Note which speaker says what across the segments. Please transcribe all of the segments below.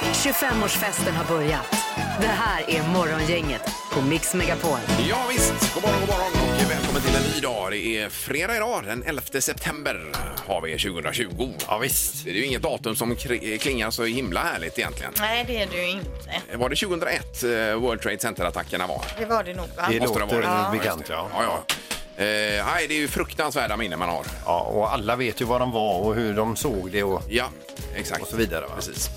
Speaker 1: 25-årsfesten har börjat. Det här är Morgongänget på Mix Megapol.
Speaker 2: Ja, visst. God morgon, god morgon och välkommen till en ny dag. Det är fredag idag, den 11 september har vi 2020.
Speaker 3: Ja, visst.
Speaker 2: Det är ju inget datum som kri- klingar så himla härligt egentligen.
Speaker 4: Nej, det är det ju inte.
Speaker 2: Var det 2001 eh, World Trade Center-attackerna var?
Speaker 4: Det var det nog, va?
Speaker 3: Det
Speaker 2: Måste det
Speaker 3: låter
Speaker 2: ha
Speaker 4: varit.
Speaker 3: bekant, ja.
Speaker 2: Ja, ja. Eh, nej, det är ju fruktansvärda minnen man har.
Speaker 3: ja. Och alla vet ju vad de var och hur de såg det och,
Speaker 2: Ja, exakt.
Speaker 3: och så vidare. Va?
Speaker 2: Precis.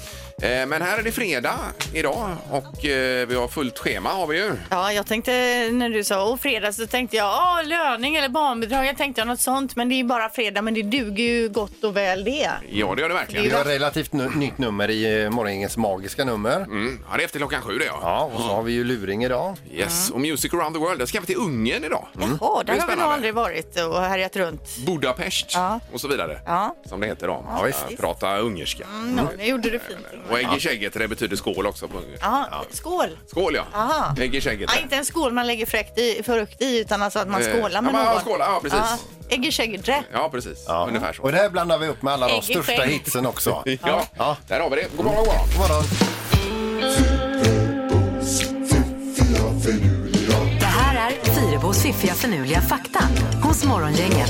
Speaker 2: Eh, men här är det fredag idag och eh, vi har fullt schema har vi ju.
Speaker 4: Ja, jag tänkte när du sa åh, fredag så tänkte jag åh, löning eller barnbidrag. Jag tänkte något sånt, men det är ju bara fredag. Men det duger ju gott och väl det.
Speaker 2: Ja, det gör
Speaker 3: Vi
Speaker 2: det verkligen.
Speaker 3: har ett relativt nu- nytt nummer i eh, morgongängets magiska nummer.
Speaker 2: Mm, ja, det är efter klockan sju det ja.
Speaker 3: Ja, och så har vi ju luring idag.
Speaker 2: Yes, och Music around the world, där ska vi till Ungern idag.
Speaker 4: Jaha,
Speaker 2: Det är
Speaker 4: där har vi nog
Speaker 2: spännande.
Speaker 4: aldrig varit och härjat runt.
Speaker 2: Budapest
Speaker 4: Ja.
Speaker 2: och så vidare.
Speaker 4: Ja.
Speaker 2: Som det heter då.
Speaker 4: Ja,
Speaker 2: Att
Speaker 4: visst.
Speaker 2: Prata ungerska.
Speaker 4: Mm, ja, nu gjorde du fint.
Speaker 2: Och ägg i kägget, det betyder skål också på ungerska.
Speaker 4: Ja, skål!
Speaker 2: Skål ja.
Speaker 4: Aha.
Speaker 2: Ägg i kägget.
Speaker 4: Ja, inte en skål man lägger fräckt i, frukt i, utan alltså att man
Speaker 2: Eh,
Speaker 4: skålar med
Speaker 2: ja, man- ja,
Speaker 4: någon.
Speaker 2: skåla, ja, precis.
Speaker 4: Ägg i kägedre.
Speaker 2: Ja, precis.
Speaker 3: Ja.
Speaker 2: Ungefär så.
Speaker 3: Och det här blandar vi upp med alla de
Speaker 4: Ägg i
Speaker 3: största
Speaker 4: skägg.
Speaker 3: hitsen också.
Speaker 2: Ja.
Speaker 3: Ja.
Speaker 2: där har vi det. God morgon, god morgon.
Speaker 3: God morgon.
Speaker 1: Det här är Fyrebos fiffiga förnuliga fakta hos Morgongänget.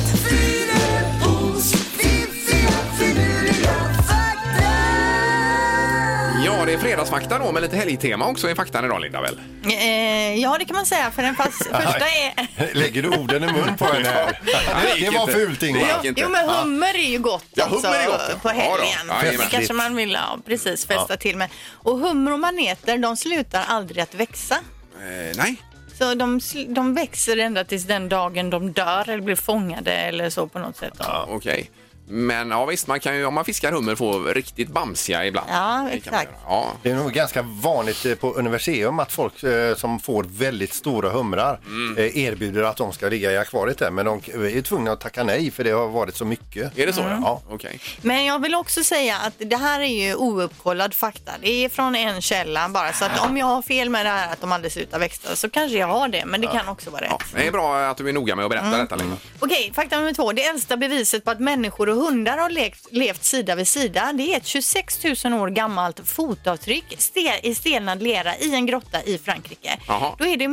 Speaker 2: Ja, det är fredagsfakta då med lite helgtema också i faktan idag, Linda väl?
Speaker 4: Eh, ja, det kan man säga, för den fast, första är...
Speaker 3: Lägger du orden i mun på henne här?
Speaker 2: det gick
Speaker 3: Det var
Speaker 2: inte.
Speaker 3: fult
Speaker 2: Det
Speaker 3: Ingmar.
Speaker 2: gick inte.
Speaker 4: Jo, men hummer är ju gott
Speaker 2: Ja,
Speaker 4: alltså,
Speaker 2: hummer är gott, ja.
Speaker 4: på
Speaker 2: Ja,
Speaker 4: helgen.
Speaker 2: då. Ja,
Speaker 4: Så
Speaker 2: jajamän.
Speaker 4: det kanske man vill ja, precis festa till med. Och hummer och maneter, de slutar aldrig att växa.
Speaker 2: Eh, nej.
Speaker 4: Så de, sl- de växer ända tills den dagen de dör eller blir fångade eller så på något sätt. Ja,
Speaker 2: Okej. Men ja, visst, man kan ju om man fiskar hummer få riktigt bamsiga ibland.
Speaker 4: Ja,
Speaker 2: Det kan man
Speaker 4: exakt.
Speaker 2: göra. Ja.
Speaker 3: Det är nog ganska vanligt eh, på universium att folk eh, som får väldigt stora humrar
Speaker 2: Mm.
Speaker 3: eh, erbjuder att de ska ligga i akvariet där men de k- är tvungna att tacka nej för det har varit så mycket.
Speaker 2: Är det så?
Speaker 4: Mm.
Speaker 3: Ja.
Speaker 2: Okej.
Speaker 4: Men jag vill också säga att det här är ju ouppkollad fakta. Det är från en källa bara. Så att om jag har fel med det här att de aldrig slutar växa så kanske jag har det. Men det kan också vara rätt.
Speaker 2: Ja, det är bra att du är noga med att berätta
Speaker 4: Mm.
Speaker 2: detta, Linda.
Speaker 4: Okej, fakta nummer två. Det äldsta beviset på att människor och hundar har levt, levt sida vid sida det är ett 26 000 år gammalt fotavtryck ste- i stelnad lera i en grotta i Frankrike.
Speaker 2: Jaha.
Speaker 4: Då är det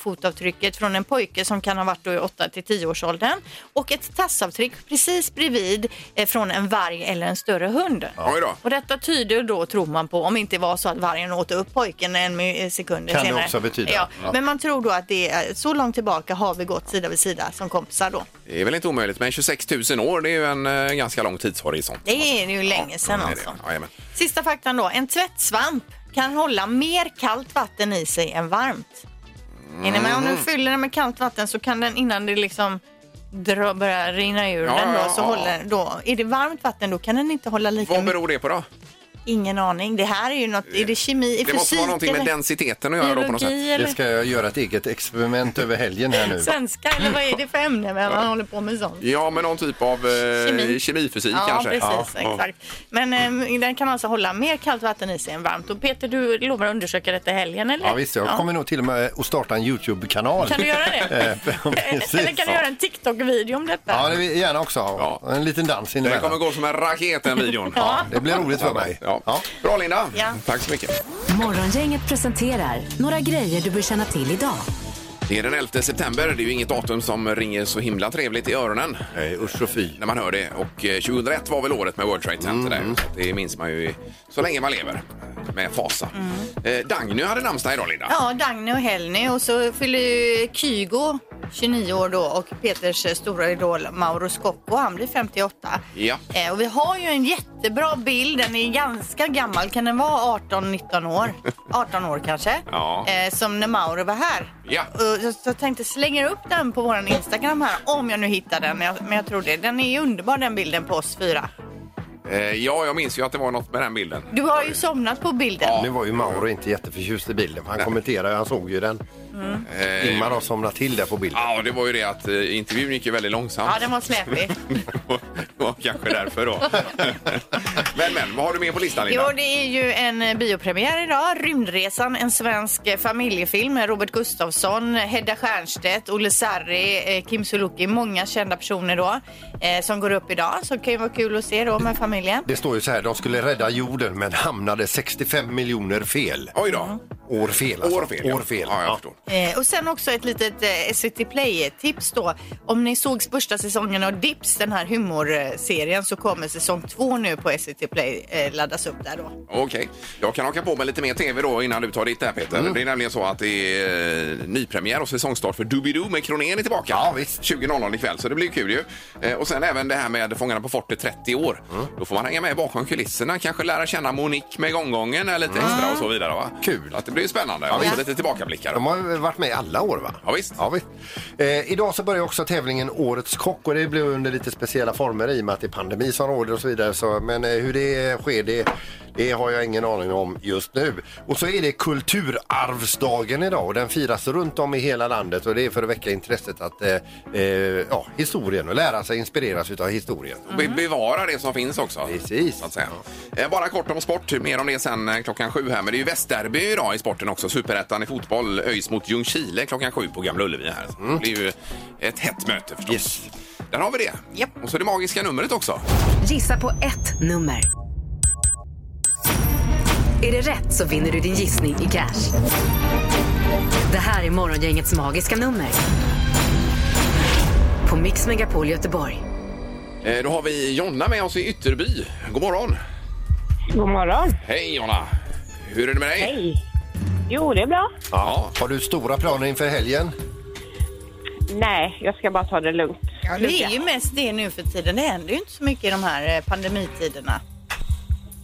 Speaker 4: människofotavtrycket från en pojke som kan ha varit då i 8 till 10 års åldern och ett tassavtryck precis bredvid eh, från en varg eller en större hund.
Speaker 2: Oj då.
Speaker 4: Och detta tyder då, tror man på, om det inte var så att vargen åt upp pojken en mi- sekund
Speaker 3: Kan det
Speaker 4: senare.
Speaker 3: också betyda.
Speaker 4: Ja.
Speaker 3: Ja.
Speaker 4: Men man tror då att det är, så långt tillbaka har vi gått sida vid sida som kompisar då.
Speaker 2: Det är väl inte omöjligt, men 26 000 år det är ju en eh, ganska lång tidshorisont.
Speaker 4: Det är ju länge sedan
Speaker 2: det är
Speaker 4: alltså.
Speaker 2: det. Jajamän.
Speaker 4: Sista faktan då. En tvättsvamp kan hålla mer kallt vatten i sig än varmt. Är ni med? Om
Speaker 2: Mm.
Speaker 4: du fyller den med kallt vatten så kan den innan det liksom dra, börjar rinna ur
Speaker 2: Ja,
Speaker 4: den då,
Speaker 2: ja,
Speaker 4: så
Speaker 2: ja.
Speaker 4: håller då. Är det varmt vatten då kan den inte hålla lika
Speaker 2: Vad
Speaker 4: mycket.
Speaker 2: beror det på då?
Speaker 4: Ingen aning. Det här är ju något, är det kemi i
Speaker 2: Det
Speaker 4: fysik
Speaker 2: måste vara någonting med
Speaker 4: eller
Speaker 2: densiteten att göra då på något sätt.
Speaker 4: biologi
Speaker 3: Det
Speaker 4: eller
Speaker 3: ska jag göra ett eget experiment över helgen här nu.
Speaker 4: svenska eller vad är det för ämne när man håller på med sånt?
Speaker 2: Ja, men någon typ av eh,
Speaker 4: Kemi.
Speaker 2: kemifysik
Speaker 4: Ja,
Speaker 2: kanske.
Speaker 4: precis.
Speaker 2: Ja.
Speaker 4: Exakt. Men eh, den kan alltså hålla mer kallt vatten i sig än varmt. Och Peter, du lovar att undersöka detta i helgen, eller?
Speaker 3: Ja visst, jag kommer nog till och med att starta en Youtube-kanal.
Speaker 4: Kan du göra det?
Speaker 3: Eh, precis.
Speaker 4: eller kan du göra en TikTok-video om detta?
Speaker 3: Ja, det vill jag gärna också ha.
Speaker 2: Ja.
Speaker 3: En liten dans
Speaker 2: Den kommer
Speaker 3: inemellan.
Speaker 2: gå som en raket den videon.
Speaker 4: Ja.
Speaker 3: Det blir roligt för mig.
Speaker 2: Ja.
Speaker 3: Ja.
Speaker 2: Bra Linda,
Speaker 4: Ja.
Speaker 2: tack så mycket.
Speaker 1: Morgongänget presenterar några grejer du bör känna till idag.
Speaker 2: Det är den 11 september, det är ju inget datum som ringer så himla trevligt i öronen
Speaker 3: Nej, usch och fy. Mm.
Speaker 2: när man hör det. Och eh, 2001 var väl året med World Trade Center där. Så att Det minns man ju i- så länge man lever med fasa. Eh, Dagny hade namnsdag idag Linda.
Speaker 4: Mm. Ja, Dagny och Helny och så fyller ju Kygo 29 år då och Peters eh, stora idol Mauro Scocco, han blir 58.
Speaker 2: Ja.
Speaker 4: Eh, och vi har ju en jättebra bild, den är ganska gammal, kan den vara 18-19 år? 18 år kanske?
Speaker 2: Ja.
Speaker 4: Eh, som när Mauro var här.
Speaker 2: Ja.
Speaker 4: Och så, så tänkte jag slänga upp den på våran Instagram här, om jag nu hittar den. Men jag, men jag tror det. Den är ju underbar den bilden på oss fyra.
Speaker 2: Eh, ja, jag minns ju att det var något med den bilden.
Speaker 4: Du har ju somnat på bilden.
Speaker 2: Ja.
Speaker 3: Nu var ju Mauro inte jätteförtjust i bilden. för Han kommenterade, han såg ju den.
Speaker 2: Eh,
Speaker 3: Ingmar har somnat till där på bilden.
Speaker 2: Ja, det var ju det att eh, intervjun gick ju väldigt långsamt.
Speaker 4: Ja, den var släpig.
Speaker 2: det var kanske därför då. men, men, vad har du med på listan
Speaker 4: Jo,
Speaker 2: Linda?
Speaker 4: det är ju en eh, biopremiär idag. Rymdresan, en svensk eh, familjefilm med Robert Gustafsson, Hedda Stiernstedt, Olle Sarri, eh, Kim Sulocki, många kända personer då eh, som går upp idag. Så det kan ju vara kul att se då med familjen.
Speaker 3: Det står ju så här, de skulle rädda jorden men hamnade 65 miljoner fel.
Speaker 2: Oj då.
Speaker 3: År fel alltså.
Speaker 2: År fel.
Speaker 3: År fel.
Speaker 2: Ja, jag
Speaker 3: Ja.
Speaker 2: förstår.
Speaker 4: Eh, och sen också ett litet eh, SVT Play-tips då. Om ni såg första säsongen av Dips, den här humorserien, så kommer säsong två nu på SVT Play eh, laddas upp där då.
Speaker 2: Okej. Jag kan haka på med lite mer tv då innan du tar ditt där Peter.
Speaker 3: Mm.
Speaker 2: Det är nämligen så att det är eh, nypremiär och säsongstart för Doobidoo med Kronén är tillbaka.
Speaker 3: Ja, visst.
Speaker 2: 20.00 ikväll, så det blir kul ju. Eh, Och sen även det här med Fångarna på fortet 30 år.
Speaker 3: Mm.
Speaker 2: Då får man hänga med bakom kulisserna, kanske lära känna Monique med gånggången eller lite extra och så vidare. Va?
Speaker 3: Mm. Kul.
Speaker 2: Att det blir ju spännande. Ja,
Speaker 3: visst.
Speaker 2: lite tillbakablickar.
Speaker 3: De har ju varit med i alla år va?
Speaker 2: Ja, visst.
Speaker 3: Ja, visst. Eh, idag så börjar också tävlingen Årets kock och det blir under lite speciella former i och med att det är pandemi som råder och så vidare. Så, men eh, hur det sker det, det har jag ingen aning om just nu. Och så är det kulturarvsdagen idag och den firas runt om i hela landet och det är för att väcka intresset att eh, eh, ja, historien och lära sig inspireras utav historien.
Speaker 2: Och be- bevara det som finns också.
Speaker 3: Precis.
Speaker 2: Så att säga. Eh, Bara kort om sport, mer om det sen eh, klockan sju här. Men det är ju västderby idag i sporten också. Superettan i fotboll, ÖIS mot Ljungskile klockan sju på Gamla Ullevi här. Så Det är ju ett hett möte förstås.
Speaker 3: Yes.
Speaker 2: Där har vi det.
Speaker 4: Japp.
Speaker 2: Och så det magiska numret också.
Speaker 1: Gissa på ett nummer. Är det rätt så vinner du din gissning i cash. Det här är Morgongängets magiska nummer. På Mix Megapol Göteborg.
Speaker 2: Eh, Då har vi Jonna med oss i Ytterby. God morgon!
Speaker 5: God morgon.
Speaker 2: Hej Jonna! Hur är det med dig?
Speaker 5: Hej. Jo, det är bra.
Speaker 2: Ja.
Speaker 3: Har du stora planer inför helgen?
Speaker 5: Nej, jag ska bara ta det lugnt.
Speaker 4: det är ju mest det nu för tiden. Det händer ju inte så mycket i de här eh, pandemitiderna.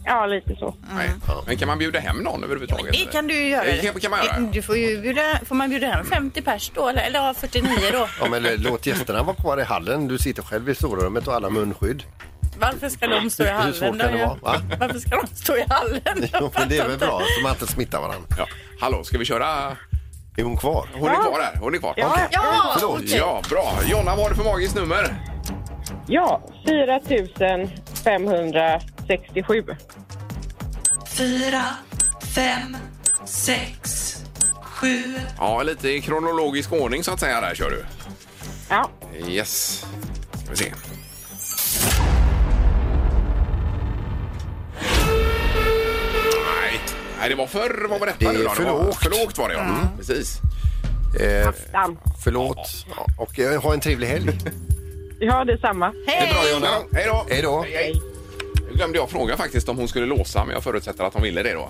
Speaker 5: Ja, lite så.
Speaker 2: Nej. Men kan man bjuda hem någon överhuvudtaget?
Speaker 4: Mm. Det kan du ju göra. Mm.
Speaker 2: Det Eh, kan- kan man göra.
Speaker 4: Du får, ju bjuda, får man bjuda hem 50 pers då? Eller, eller ja, 49 då?
Speaker 3: Ja, men eh, låt gästerna vara kvar i hallen. Du sitter själv i stora rummet och alla munskydd.
Speaker 4: Varför ska de stå i
Speaker 3: Hur- hur
Speaker 4: hallen?
Speaker 3: svårt kan
Speaker 4: då?
Speaker 3: det vara, va?
Speaker 4: Varför ska de stå i hallen?
Speaker 3: Jo, men det är väl bra så man inte smittar varandra.
Speaker 2: Ja. Hallå, ska vi köra?
Speaker 3: Är hon kvar?
Speaker 2: Hon är kvar här. Hon är kvar.
Speaker 5: Ja,
Speaker 4: Ja,
Speaker 3: Förlåt.
Speaker 4: okej.
Speaker 2: Ja, bra. Jonna, vad har du för magiskt nummer?
Speaker 5: ja 4 567.
Speaker 6: fyra, fem, sex, sju.
Speaker 2: Ja, lite i kronologisk ordning så att säga där kör du.
Speaker 5: Ja,
Speaker 2: Yes. Ska vi se. Nej, Nej det var förr var det
Speaker 3: Det
Speaker 2: detta
Speaker 3: är
Speaker 2: nu då?
Speaker 3: för
Speaker 2: var-
Speaker 3: lågt.
Speaker 2: För lågt var det ja. Mm. Precis.
Speaker 3: Eh,
Speaker 5: damm.
Speaker 3: förlåt. Ja, och eh, ha en trevlig helg.
Speaker 5: Ja, detsamma.
Speaker 2: Det är bra Jonna.
Speaker 3: Ja,
Speaker 2: Hej då.
Speaker 3: Hej då.
Speaker 2: hej. Nu glömde jag fråga faktiskt om hon skulle låsa men jag förutsätter att hon ville det då.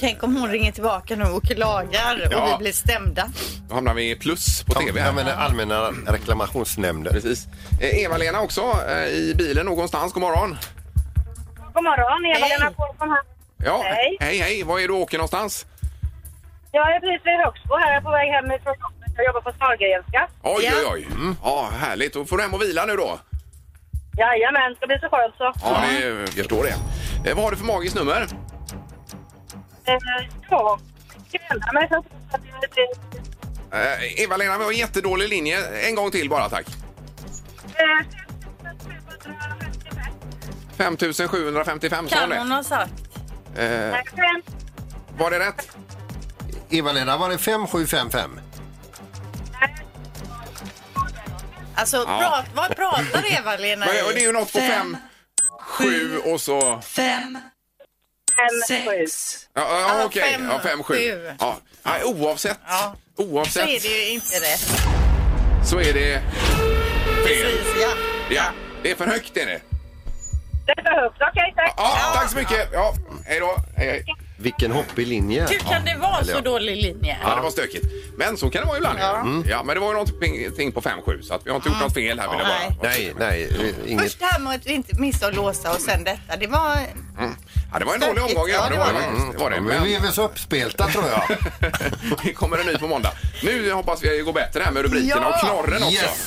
Speaker 4: Tänk om hon ringer tillbaka nu och klagar och
Speaker 2: Ja.
Speaker 4: vi blir stämda.
Speaker 2: Då hamnar vi i plus på tv här.
Speaker 3: Ja, men allmänna reklamationsnämnden.
Speaker 2: Precis. Eh, Eva-Lena också eh, i bilen någonstans. God morgon.
Speaker 7: God morgon, Eva-Lena
Speaker 4: Hej.
Speaker 7: Pålsson här.
Speaker 2: Ja,
Speaker 7: Hej.
Speaker 2: hej. Hej, Var är du åker någonstans?
Speaker 7: Jag är precis vid Högsbo här. Jag är på väg hem ifrån jobbet. Jag jobbar på Sahlgrenska.
Speaker 2: Oj,
Speaker 4: Ja.
Speaker 2: oj, oj. Ja, härligt. Då får du hem och vila nu då.
Speaker 7: Jajamän, det blir så skönt så.
Speaker 2: Ja, det, jag förstår det. Eh, vad har du för magiskt nummer?
Speaker 7: Eh, ja, skrälla mig för att det är
Speaker 2: Eh, Eva-Lena, vi har en jättedålig linje. En gång till bara, tack.
Speaker 7: eh, 5755.
Speaker 2: 5755 sa hon
Speaker 4: Kan hon
Speaker 2: det.
Speaker 4: ha sagt.
Speaker 2: Eh,
Speaker 7: Nej, fem.
Speaker 2: var det rätt?
Speaker 3: Eva-Lena, var det 5755?
Speaker 7: Nej,
Speaker 4: Alltså, prat, vad pratar Eva-Lena
Speaker 2: Men, och det är ju något på
Speaker 6: Fem.
Speaker 2: 5, 7 och så...
Speaker 6: Fem,
Speaker 7: fem, sju.
Speaker 6: sex.
Speaker 2: Ja, ja,
Speaker 4: Ja,
Speaker 2: okej.
Speaker 4: fem,
Speaker 2: Ja, 5, 7.
Speaker 4: sju.
Speaker 2: Ja. Nej, oavsett.
Speaker 4: Ja. Så är
Speaker 2: Oavsett
Speaker 4: det ju inte rätt.
Speaker 2: så är det fel.
Speaker 4: Precis, ja.
Speaker 2: Ja, det är för högt är det.
Speaker 7: Det behövs. Okej, tack.
Speaker 2: Ja, tack så mycket. Ja, hej då. Hej, hej.
Speaker 3: Vilken hoppig linje.
Speaker 4: Hur kan det vara
Speaker 3: ja.
Speaker 4: så dålig linje?
Speaker 2: Ja, det var stökigt. Men så kan det vara ibland. Ja, ja men det var ju någonting på 5-7 så att vi har inte gjort något fel här vill jag bara.
Speaker 3: Nej,
Speaker 4: Nej.
Speaker 3: nej, eh, inget.
Speaker 4: Först det här med att vi inte missa att låsa och sen detta. Det var...
Speaker 2: Ja, det var en dålig omgång. Ja, det var det. faktiskt. Det var det.
Speaker 3: Ja, Mm, men vi är
Speaker 2: Men
Speaker 3: väl så uppspelta tror jag.
Speaker 2: det kommer en ny på måndag. Nu hoppas vi går bättre här med rubrikerna och knorren också.
Speaker 3: Yes.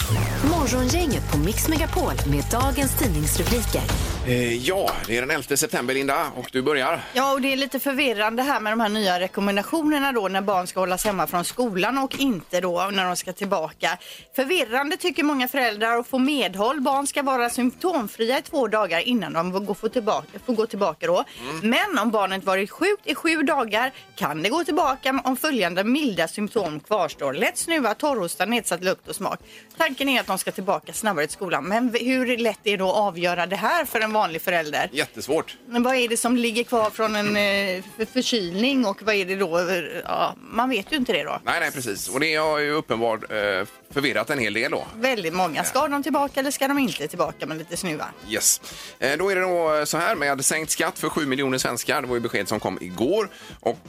Speaker 1: Morgongänget på Mix Megapol med dagens tidningsrubriker.
Speaker 2: Eh, ja, det är den 11 september Linda och du börjar.
Speaker 4: Ja, och det är lite förvirrande här med de här nya rekommendationerna då när barn ska hållas hemma från skolan och inte då när de ska tillbaka. Förvirrande tycker många föräldrar och får medhåll. Barn ska vara symptomfria i två dagar innan de får gå, får tillbaka, får gå tillbaka då. Men om barnet varit sjukt i sju dagar kan det gå tillbaka om följande milda symptom kvarstår. Lätt snuva, torrhosta, nedsatt lukt och smak. Tanken är att de ska tillbaka snabbare till skolan. Men hur lätt är det att avgöra det här för en vanlig förälder.
Speaker 2: Jättesvårt.
Speaker 4: Men vad är det som ligger kvar från en eh, för- förkylning och vad är det då? eh, Ja, man vet ju inte det då.
Speaker 2: Nej, nej, precis. Och det har ju uppenbart eh, förvirrat en hel del då.
Speaker 4: Väldigt många. Ska de tillbaka eller ska de inte tillbaka med lite snuva?
Speaker 2: Yes. Eh, Då är det då så här med sänkt skatt för 7 miljoner svenskar. Det var ju besked som kom igår. Och eh,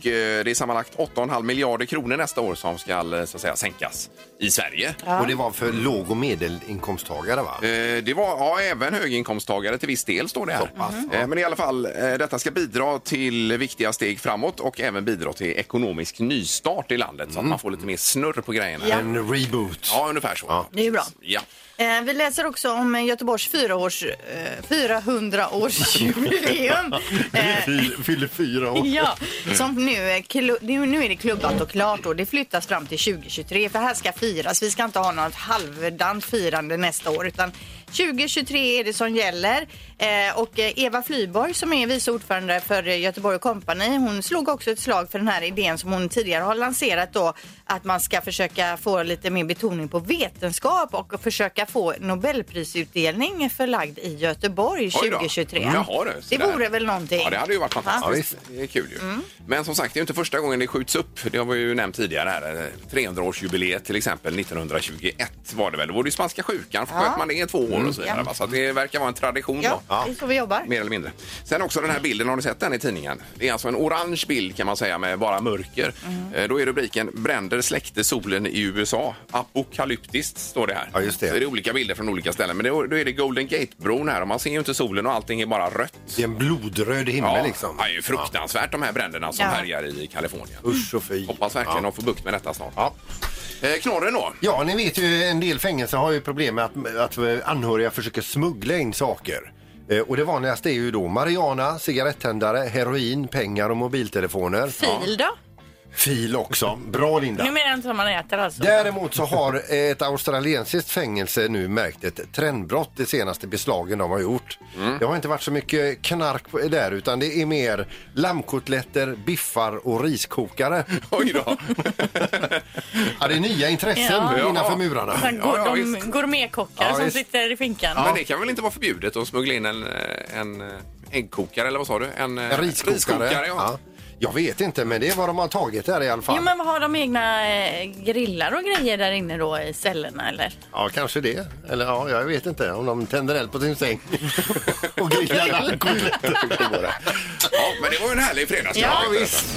Speaker 2: det är sammanlagt 8,5 miljarder kronor nästa år som ska eh, så att säga, sänkas i Sverige.
Speaker 3: Och det var för låg och medelinkomsttagare va?
Speaker 2: Eh, Det var ja, även höginkomsttagare till viss del står det här. Eh, Men i alla fall, eh, detta ska bidra till viktiga steg framåt och även bidra till ekonomisk nystart i landet så att man får lite mer snurr på grejerna. Ja,
Speaker 3: En reboot.
Speaker 2: ungefär så.
Speaker 3: Ja.
Speaker 4: Det är bra.
Speaker 2: Ja.
Speaker 4: Eh, Vi läser också om eh, Göteborgs 400-års, eh, 400-årsjubileum. Eh,
Speaker 3: Fy- Fyller fyra år.
Speaker 4: Ja, som nu, är klu- nu, nu är det klubbat och klart och det flyttas fram till 2023 för här ska firas. Vi ska inte ha något halvdant firande nästa år utan 2023 är det som gäller. Eh, och eh, Eva Flyborg som är vice ordförande för eh, Göteborg Company hon slog också ett slag för den här idén som hon tidigare har lanserat då att man ska försöka få lite mer betoning på vetenskap och försöka få Nobelprisutdelning förlagd i Göteborg
Speaker 2: Oj då.
Speaker 4: 2023.
Speaker 2: Jaha, du,
Speaker 4: det
Speaker 2: så där.
Speaker 4: vore väl någonting. Mm.
Speaker 2: Ja, det hade ju varit
Speaker 4: Va?
Speaker 2: fantastiskt. det är kul ju. Men som sagt, det är ju inte första gången det skjuts upp. Det har vi ju nämnt tidigare här. eh, 300-årsjubileet till exempel 1921 var det väl. Då var det ju spanska sjukan. För sköt man det i två år och så vidare. va? Så att det verkar vara en tradition
Speaker 4: Mm. Ja,
Speaker 2: då.
Speaker 4: det är så vi jobbar.
Speaker 2: Mer eller mindre. Sen också den här bilden, har ni sett den i tidningen? Det är alltså en orange bild kan man säga med bara mörker.
Speaker 3: Mhm.
Speaker 2: Eh, Då är rubriken Bränder släckte solen i USA. Apokalyptiskt står det här.
Speaker 3: Ja, just det.
Speaker 2: Så är det olika bilder från olika ställen. Men då, då är det Golden Gate-bron här och man ser ju inte solen och allting är bara rött.
Speaker 3: Det är en blodröd himmel
Speaker 2: Ja,
Speaker 3: liksom.
Speaker 2: det är ju fruktansvärt de här bränderna som
Speaker 4: Ja.
Speaker 2: härjar i Kalifornien.
Speaker 3: Ja. Usch och fy.
Speaker 2: Hoppas verkligen de får bukt med detta snart.
Speaker 3: Ja.
Speaker 2: Eh, knorren då?
Speaker 3: Ja, ni vet ju en del fängelser har ju problem med att, att anhöriga försöker smuggla in saker. Eh, Och det vanligaste är ju då marijuana, cigarettändare, heroin, pengar och mobiltelefoner.
Speaker 8: Fil då?
Speaker 3: Fil också. Bra Linda.
Speaker 8: Nu menar jag inte vad man äter alltså.
Speaker 3: Däremot så har eh, ett australiensiskt fängelse nu märkt ett trendbrott de senaste beslagen de har gjort. Det har inte varit så mycket knark på- där utan det är mer lammkotletter, biffar och riskokare.
Speaker 2: Oj då.
Speaker 3: Ja, det är nya intressen
Speaker 2: Ja.
Speaker 3: innanför murarna.
Speaker 8: Sen
Speaker 2: Ja,
Speaker 8: går
Speaker 2: ja,
Speaker 8: de
Speaker 2: visst.
Speaker 8: gourmetkockar
Speaker 3: Ja,
Speaker 8: som
Speaker 3: visst.
Speaker 8: sitter i finkan.
Speaker 2: Men det kan väl inte vara förbjudet att smuggla in en, eh, en eh, äggkokare eller vad sa du? En, eh,
Speaker 3: En riskokare.
Speaker 2: riskokare, ja.
Speaker 3: Jag vet inte men det är vad de har tagit där i alla fall.
Speaker 8: Jo, men har de egna eh, grillar och grejer där inne då i cellerna eller?
Speaker 3: Ja, kanske det. Eller ja, jag vet inte om de tänder eld på sin säng och grillar lammkotletter.
Speaker 2: ja. Men det var ju en härlig fredagskväll.
Speaker 3: Ja, visst.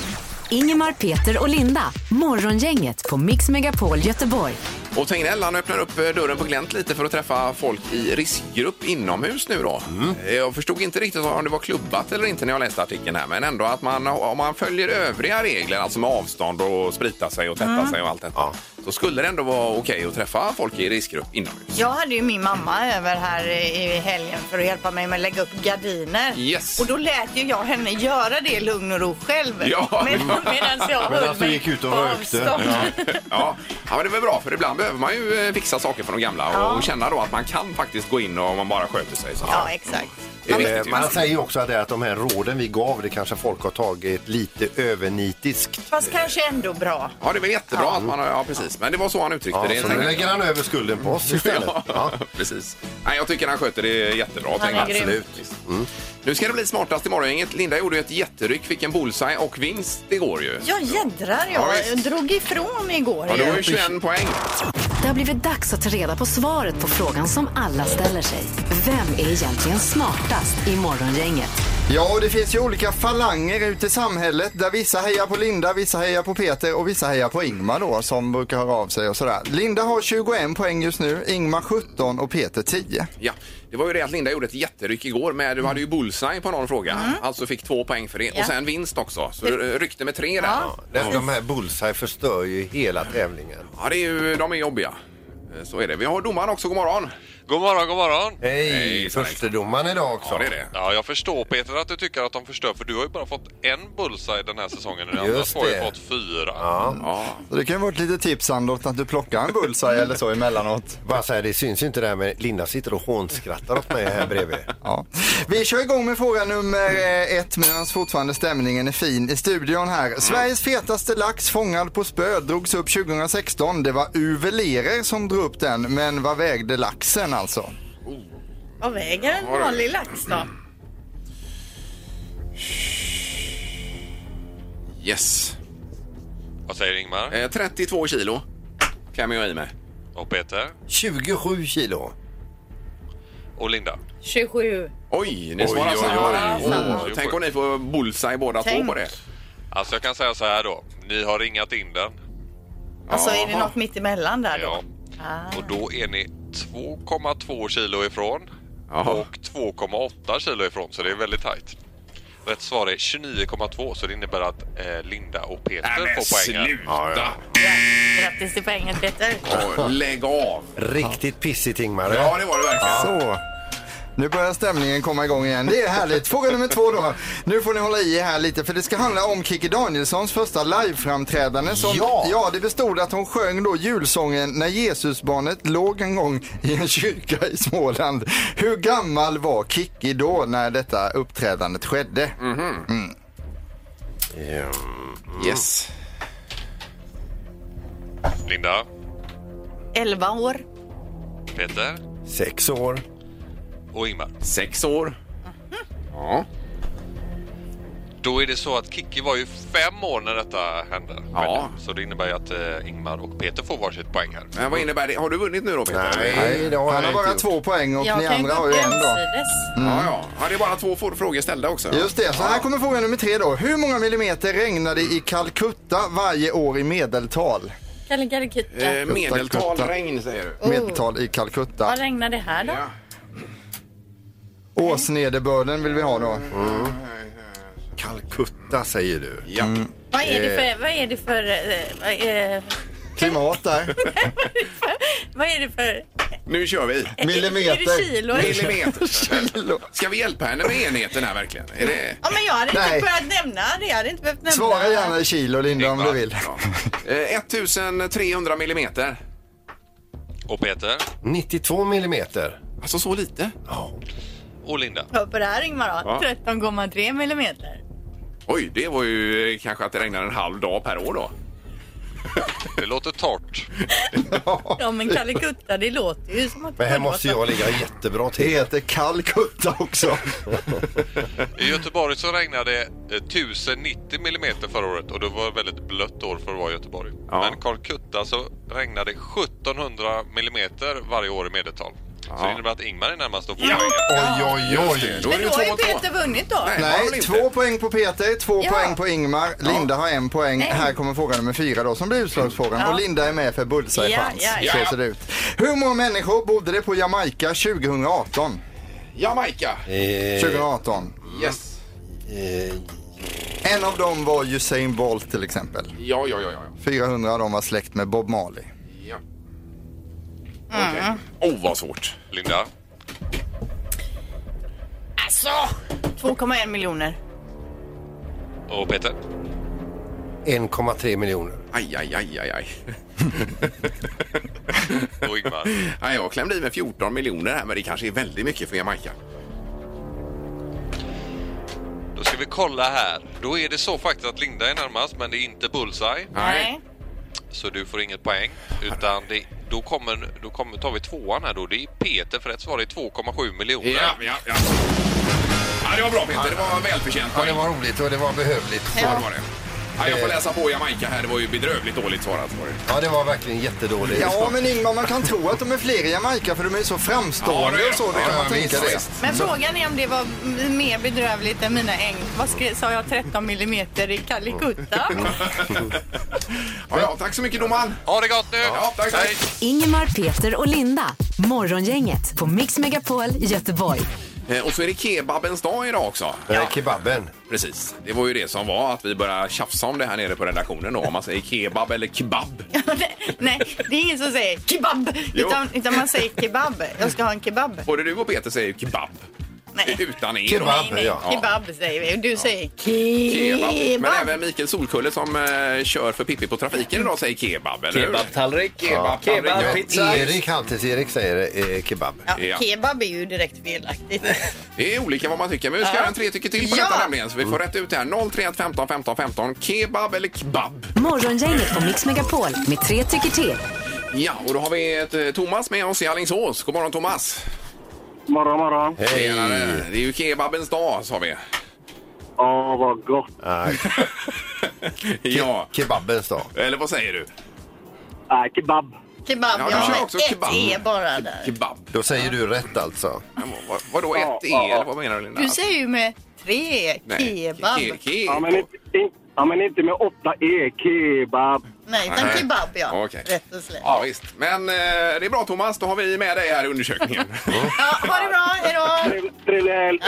Speaker 1: Ingemar, Peter och Linda. Morgongänget på Mix Megapol Göteborg.
Speaker 2: Och Tegnell han öppnar upp eh, dörren på glänt lite för att träffa folk i riskgrupp inomhus nu då. Eh, Jag förstod inte riktigt om det var klubbat eller inte när jag läste artikeln här men ändå att man, om man följer övriga regler, alltså med avstånd och sprita sig och tvätta sig och allt detta, så skulle det ändå vara okej att träffa folk i riskgrupp inomhus.
Speaker 4: Jag hade ju min mamma över här i helgen för att hjälpa mig med att lägga upp gardiner.
Speaker 2: Yes.
Speaker 4: Och då lät ju jag henne göra det i lugn och ro själv.
Speaker 2: Ja. alltså,
Speaker 4: Men,
Speaker 8: Medan jag höll
Speaker 3: Medan du
Speaker 8: mig
Speaker 3: gick ut och
Speaker 8: på
Speaker 3: rökte.
Speaker 8: avstånd.
Speaker 2: Ja, ja men det var bra för ibland behöver man ju eh, fixa saker för de gamla och, och känna då att man kan faktiskt gå in och om man bara sköter sig. Så. Mm.
Speaker 4: ja, exakt.
Speaker 2: Det är
Speaker 3: Eh,
Speaker 2: viktigt, ju.
Speaker 3: Man säger ju också att, det är att de här råden vi gav, det kanske folk har tagit lite övernitiskt.
Speaker 4: Fast kanske ändå bra.
Speaker 2: Ja, det var jättebra att man har, ja precis. Men det var så han uttryckte
Speaker 3: Ja,
Speaker 2: det.
Speaker 3: så
Speaker 2: tänkte
Speaker 3: nu
Speaker 2: jag.
Speaker 3: lägger han över skulden på oss istället. Ja.
Speaker 2: Ja, precis. Nej, jag tycker han sköter det jättebra. Han
Speaker 8: grym.
Speaker 3: Mm.
Speaker 2: Nu ska det bli smartast i morgongänget. Linda gjorde ju ett jätteryck, fick en bullseye och vinst igår ju.
Speaker 4: Jag jädrar,
Speaker 2: Ja,
Speaker 4: jag
Speaker 2: visst.
Speaker 4: drog ifrån igår.
Speaker 2: Ja, det var
Speaker 4: ju.
Speaker 2: ju 21 poäng.
Speaker 1: Det har blivit dags att ta reda på svaret på frågan som alla ställer sig. Vem är egentligen smartast i morgongänget?
Speaker 9: Ja, och det finns ju olika falanger ute i samhället där vissa hejar på Linda, vissa hejar på Peter och vissa hejar på Ingmar då som brukar höra av sig och sådär. Linda har 21 poäng just nu, Ingmar 17 och Peter 10.
Speaker 2: Ja, det var ju det att Linda gjorde ett jätteryck igår med, du hade
Speaker 3: Mm.
Speaker 2: ju bullseye på någon fråga. Alltså fick två poäng för det. Och sen vinst också. Så du ryckte med tre där. Ja.
Speaker 3: Den- De här bullseye förstör ju hela tävlingen.
Speaker 2: det är ju, de är jobbiga. Eh, Så är det. Vi har domaren också, god morgon.
Speaker 10: God morgon, god morgon.
Speaker 3: Hej,
Speaker 2: Hej,
Speaker 3: förstedomaren idag också.
Speaker 2: Ja, det är det.
Speaker 10: Ja, jag förstår Peter att du tycker att de förstör för du har ju bara fått en bullseye den här säsongen. Den andra
Speaker 3: Just
Speaker 10: två har ju
Speaker 3: det.
Speaker 10: fått fyra.
Speaker 2: Ja.
Speaker 9: Så det kan ju vara ett litet tips Sandot att du plockar en bullseye eller så emellanåt.
Speaker 3: Bara så här, det syns ju inte det här med Linda sitter och hånskrattar åt mig här bredvid.
Speaker 9: Ja. Vi kör igång med fråga nummer eh, ett medan fortfarande stämningen är fin i studion här. Sveriges fetaste lax fångad på spö drogs upp 2016. Det var Uwe Lerer som drog upp den, men vad vägde laxen alltså?
Speaker 4: Vad väger en vanlig lax då?
Speaker 2: Yes.
Speaker 10: Vad säger Ingmar?
Speaker 2: Eh, 32 kilo klämmer jag i mig.
Speaker 10: Och Peter?
Speaker 3: 27 kilo.
Speaker 10: Och Linda?
Speaker 8: 27.
Speaker 2: Oj, ni
Speaker 10: Oj,
Speaker 2: svarar
Speaker 10: oj,
Speaker 2: samma.
Speaker 10: oj,
Speaker 2: där.
Speaker 10: oj.
Speaker 2: Åh,
Speaker 10: Oj.
Speaker 2: Tänk om ni får bullseye båda två
Speaker 4: Tänk.
Speaker 2: på det.
Speaker 10: Alltså jag kan säga så här då. Ni har ringat in den.
Speaker 4: Alltså är det något mitt emellan där då?
Speaker 10: Ja.
Speaker 2: Ah.
Speaker 10: Och då är ni 2,2 kilo ifrån och 2,8 kilo ifrån så det är väldigt tajt. Rätt svar är 29,2 så det innebär att eh, Linda och Peter
Speaker 2: Nej, men
Speaker 10: får poängen.
Speaker 2: sluta! Ja, ja.
Speaker 8: Grattis till poängen Peter.
Speaker 2: Åh, lägg av!
Speaker 3: Riktigt pissigt Ingmar.
Speaker 2: Ja, det var det verkligen.
Speaker 9: Så. Nu börjar stämningen komma igång igen. Det är härligt. Fråga nummer två då. Nu får ni hålla i er här lite för det ska handla om Kikki Danielssons första liveframträdande. Som,
Speaker 3: Ja.
Speaker 9: ja, det bestod att hon sjöng då julsången När Jesusbarnet låg en gång i en kyrka i Småland. Hur gammal var Kikki då när detta uppträdandet skedde? Mm.
Speaker 2: Yes.
Speaker 10: Linda,
Speaker 4: 11 år.
Speaker 10: Peter
Speaker 3: Sex år.
Speaker 10: och Ingmar.
Speaker 2: Sex år. Ja.
Speaker 10: Då är det så att Kikki var ju fem år när detta hände.
Speaker 2: Ja.
Speaker 10: Så det innebär ju att eh, Ingmar och Peter får varsitt poäng här.
Speaker 2: Men vad innebär det? Har du vunnit nu då Peter?
Speaker 3: Nej, det har jag
Speaker 9: Han har
Speaker 3: inte
Speaker 9: bara
Speaker 3: gjort.
Speaker 9: två poäng och ni
Speaker 8: Jag kan gå
Speaker 9: andra har ju
Speaker 8: upp
Speaker 9: en då.
Speaker 8: jämsides.
Speaker 2: Ja, ja. ja, det är bara två få- frågor ställda också. Eh,
Speaker 9: Just det, så här kommer fråga nummer tre då. Hur många millimeter regnade i Calcutta varje år i medeltal?
Speaker 8: Kalle Karikita.
Speaker 2: Eh, medeltal
Speaker 9: Kutta.
Speaker 2: regn säger du.
Speaker 9: Medeltal i Calcutta.
Speaker 8: Vad regnar det här då?
Speaker 2: Ja.
Speaker 9: Årsnederbörden vill vi ha då.
Speaker 3: Calcutta säger du.
Speaker 2: Ja.
Speaker 8: Vad är det för... Vad är det för... eh, Vad är,
Speaker 9: Klimat där.
Speaker 8: vad är det för...
Speaker 2: Nu kör vi.
Speaker 9: Millimeter.
Speaker 8: Är det kilo?
Speaker 2: Millimeter. Ska vi hjälpa henne med enheten här verkligen? Är det...
Speaker 4: Ja men jag hade inte
Speaker 9: Nej.
Speaker 4: behövt nämna det. Jag hade inte behövt nämna.
Speaker 9: Svara gärna i kilo Linda om du vill.
Speaker 2: Ja. Eh, 1300 millimeter.
Speaker 10: Och Peter
Speaker 3: 92 millimeter.
Speaker 2: Alltså så lite?
Speaker 10: och Linda.
Speaker 4: Ja, på det här Ingmar då.
Speaker 2: Ja.
Speaker 8: 13,3 millimeter.
Speaker 2: Oj, det var ju eh, kanske att det regnar en halv dag per år då.
Speaker 10: Det låter torrt.
Speaker 8: Ja men Kalle Kutta, det låter ju som att...
Speaker 3: Men här måste jag ligga jättebra
Speaker 9: Det
Speaker 3: till.
Speaker 9: heter Calcutta också.
Speaker 10: I Göteborg så regnade det 1090 millimeter förra året och det var ett väldigt blött år för att vara i Göteborg.
Speaker 2: Ja.
Speaker 10: Men Calcutta så regnade 1700 millimeter varje år i medeltal. Så det innebär att Ingmar är närmast och får poängen.
Speaker 3: Oj, oj, oj.
Speaker 2: Då är
Speaker 4: Men
Speaker 2: det
Speaker 4: då
Speaker 2: ju
Speaker 4: har
Speaker 2: två
Speaker 4: ju
Speaker 2: och två.
Speaker 4: Peter vunnit då.
Speaker 2: Nej. har väl
Speaker 9: Nej,
Speaker 2: inte.
Speaker 9: två poäng på Peter, två
Speaker 4: Ja.
Speaker 9: poäng på Ingmar. Linda har en poäng. Här kommer fråga nummer fyra då som blir utslagsfrågan. Och Linda är med för bullseye
Speaker 8: Ja,
Speaker 9: chans.
Speaker 8: ja,
Speaker 2: ja.
Speaker 9: Så ser det ut. Hur många människor bodde det på Jamaica 2018?
Speaker 2: Jamaica.
Speaker 3: Eh,
Speaker 9: 2018.
Speaker 2: Yes.
Speaker 3: eh,
Speaker 9: En av dem var Usain Bolt till exempel.
Speaker 2: Ja, ja, ja. ja.
Speaker 9: 400 av dem var släkt med Bob Marley.
Speaker 2: ja. Okej. Oh, vad svårt.
Speaker 10: Linda,
Speaker 4: Alltså! 2,1 miljoner.
Speaker 10: och Peter
Speaker 3: 1,3 miljoner.
Speaker 2: Aj, aj, aj, aj, aj.
Speaker 10: och Ingmar.
Speaker 2: Nej, jag klämde i med 14 miljoner här, men det kanske är väldigt mycket för Jamaica.
Speaker 10: Då ska vi kolla här. Då är det så faktiskt att Linda är närmast men det är inte bullseye.
Speaker 2: Nej.
Speaker 10: Så du får inget poäng. Utan det, då, kommer, då kommer, tar vi tvåan här då. Det är Peter för rätt svar är 2,7 miljoner.
Speaker 2: Ja, ja, ja. ja det var bra Peter, det var välförtjänt
Speaker 3: Ja,
Speaker 2: poäng.
Speaker 3: det var roligt och det var behövligt.
Speaker 2: Ja, det var det. Ja, jag får läsa på Jamaica här, det var ju bedrövligt dåligt svarat var det.
Speaker 3: Ja, det var verkligen jättedåligt.
Speaker 9: Ja, men Ingmar, man kan tro att de är fler i Jamaica för de är ju så framstående
Speaker 2: Ja, det är
Speaker 9: och så.
Speaker 2: de.
Speaker 9: Det
Speaker 2: Ja,
Speaker 9: kan man
Speaker 2: ja,
Speaker 9: tänka
Speaker 2: visst,
Speaker 9: det.
Speaker 2: visst.
Speaker 4: Men frågan är om det var m- mer bedrövligt än mina äng. Vad skre- sa jag? 13 millimeter i Calcutta?
Speaker 2: Ja, ja, tack så mycket domaren.
Speaker 10: Ha det gott nu!
Speaker 2: Ja, tack, tack.
Speaker 10: Hej.
Speaker 1: Ingemar, Peter och Linda. Morgongänget på Mix Megapol Göteborg.
Speaker 2: Eh, Och så är det kebabens dag idag också.
Speaker 3: Ja. Kebaben.
Speaker 2: Precis. Det var ju det som var att vi började tjafsa om det här nere på redaktionen då. Om man säger kebab eller kebab.
Speaker 4: Nej, det är ingen som säger kebab.
Speaker 2: Jo.
Speaker 4: Utan, utan man säger kebab. Jag ska ha en kebab.
Speaker 2: Både du och Peter säger kebab.
Speaker 4: Nej.
Speaker 2: Utan er.
Speaker 3: Kebab,
Speaker 2: då.
Speaker 4: Nej, nej.
Speaker 3: ja.
Speaker 4: Kebab säger vi. Du säger
Speaker 2: Kebab.
Speaker 4: kebab.
Speaker 2: Men även Mikael Solkulle som eh, kör för Pippi på trafiken idag säger kebab, eller hur?
Speaker 11: Kebabtallrik.
Speaker 2: Kebab,
Speaker 11: Kebab,
Speaker 2: tallrik.
Speaker 11: pizza.
Speaker 3: Erik, Halvtids-Erik säger eh, kebab.
Speaker 2: Ja.
Speaker 4: Ja, kebab är ju direkt felaktigt.
Speaker 2: Det är olika vad man tycker, men vi ska göra en tre tycker till på
Speaker 4: Ja.
Speaker 2: detta nämligen. Så vi får rätt ut det här. 031 15 15 15. Kebab eller kebab?
Speaker 1: Morgongänget på Mix Megapol med tre tycker till.
Speaker 2: Ja, och då har vi ett, eh, Thomas med oss i Alingsås. God morgon Thomas!
Speaker 5: Morgon, morgon.
Speaker 2: Tjenare. Det är ju kebabens dag, sa vi.
Speaker 11: Åh, vad gott.
Speaker 2: ja.
Speaker 3: Kebabens dag.
Speaker 2: Eller vad säger du?
Speaker 11: Nej, Äh, kebab.
Speaker 4: Kebab,
Speaker 2: Ja,
Speaker 4: ja.
Speaker 2: du kör också
Speaker 4: ett
Speaker 2: kebab.
Speaker 4: E bara där.
Speaker 2: Kebab.
Speaker 3: Då säger du rätt alltså.
Speaker 2: Vad, vadå ett E? Eller vad menar du Linda?
Speaker 4: Du säger ju med tre
Speaker 2: Nej,
Speaker 4: kebab.
Speaker 2: ke- ke-
Speaker 11: Ja, men inte, in, ja, men inte med åtta E. Kebab.
Speaker 4: Nej, utan
Speaker 2: Nej.
Speaker 4: kebab ja.
Speaker 2: Okej.
Speaker 4: Rätt och slätt.
Speaker 2: Ja, visst. Men eh, det är bra Thomas, då har vi med dig här i undersökningen.
Speaker 4: Ja, ha det bra, hejdå!
Speaker 11: Trevlig helg.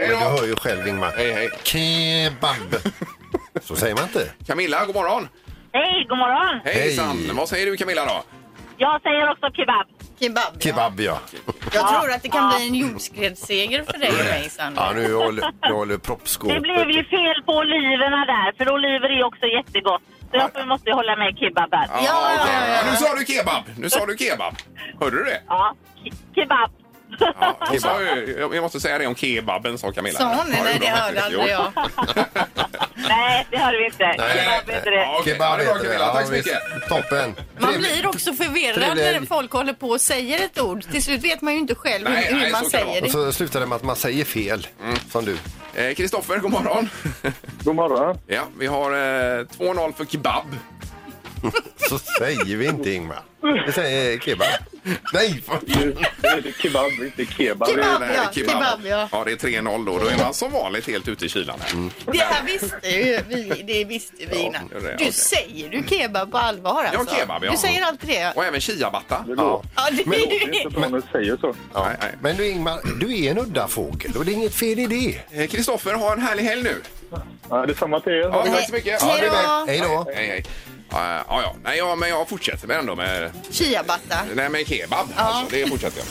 Speaker 3: Men du hör ju själv Ingmar. Hej,
Speaker 2: hej.
Speaker 3: Kebab. Så säger man inte.
Speaker 2: Camilla, god morgon!
Speaker 7: Hej, god morgon!
Speaker 2: Hejsan! Vad säger du Camilla då?
Speaker 7: Jag säger också kebab.
Speaker 4: Kebab.
Speaker 3: Kebab ja.
Speaker 4: Jag tror att det kan bli en jordskredsseger för dig och mig, Sandra.
Speaker 3: Ja, nu håller, nu håller proppskåpet.
Speaker 7: Det blev ju fel på oliverna där, för oliver är också jättegott. Så jag måste ju hålla med kebab där.
Speaker 2: okej. Nu sa du kebab! Nu sa du kebab! Hörde du det?
Speaker 7: Ja, kebab.
Speaker 2: Ja, hon sa ju- jag jag måste säga det om kebaben, sa Camilla.
Speaker 7: Sa hon det?
Speaker 2: Ja,
Speaker 7: Nej,
Speaker 2: gjorde
Speaker 7: det
Speaker 2: hon.
Speaker 7: hörde aldrig
Speaker 2: Jo. Eh,
Speaker 7: jag. Nej, det hörde vi inte. Kebab heter det.
Speaker 2: Ja, okej. Ja, det är bra, Camilla. Tack så
Speaker 3: visst.
Speaker 2: mycket.
Speaker 3: Toppen.
Speaker 4: Man blir också förvirrad
Speaker 3: Trevlig helg.
Speaker 4: när folk håller på och säger ett ord. Till slut vet man ju inte själv
Speaker 2: Nej,
Speaker 4: hur
Speaker 2: nej,
Speaker 4: man
Speaker 2: så kan det
Speaker 4: säger
Speaker 3: Och
Speaker 4: det.
Speaker 3: så slutar det med att man säger fel.
Speaker 2: Mm.
Speaker 3: Som du.
Speaker 2: Eh, Kristoffer, god morgon.
Speaker 11: God morgon.
Speaker 2: Ja, vi har eh, 2-0 för kebab.
Speaker 3: Så säger vi inte Ingmar. Vi säger kebab. Nej!
Speaker 11: Kebab, inte kebab.
Speaker 4: Kebab,
Speaker 2: Nej,
Speaker 4: ja. Kebab, ja.
Speaker 2: Ja, det är 3-0 då. Då är man som vanligt helt ute i kylan. här.
Speaker 4: Det här visste ju vi, det visste vi innan.
Speaker 2: det är det,
Speaker 4: Du
Speaker 2: okej.
Speaker 4: säger du kebab på allvar
Speaker 2: Ja,
Speaker 4: alltså?
Speaker 2: kebab, ja.
Speaker 4: Du säger alltid det.
Speaker 2: Och även chiabatta.
Speaker 3: Ja.
Speaker 4: Ja, det
Speaker 3: Men-
Speaker 4: är ju...
Speaker 11: bra när du säger så.
Speaker 3: Ja. Men du Ingmar, du är en udda fågel och det är inget fel i det.
Speaker 2: Eh, Kristoffer, ha en härlig helg nu.
Speaker 11: Ja, detsamma till er.
Speaker 2: Ja, tack så mycket. Ja, det är bra.
Speaker 3: Hej då.
Speaker 2: Hej, hej. Ja, ja, ja. Nej, ja, men jag fortsätter med ändå med,
Speaker 4: Chiabatta.
Speaker 2: nej, med kebab. Alltså, det fortsätter jag.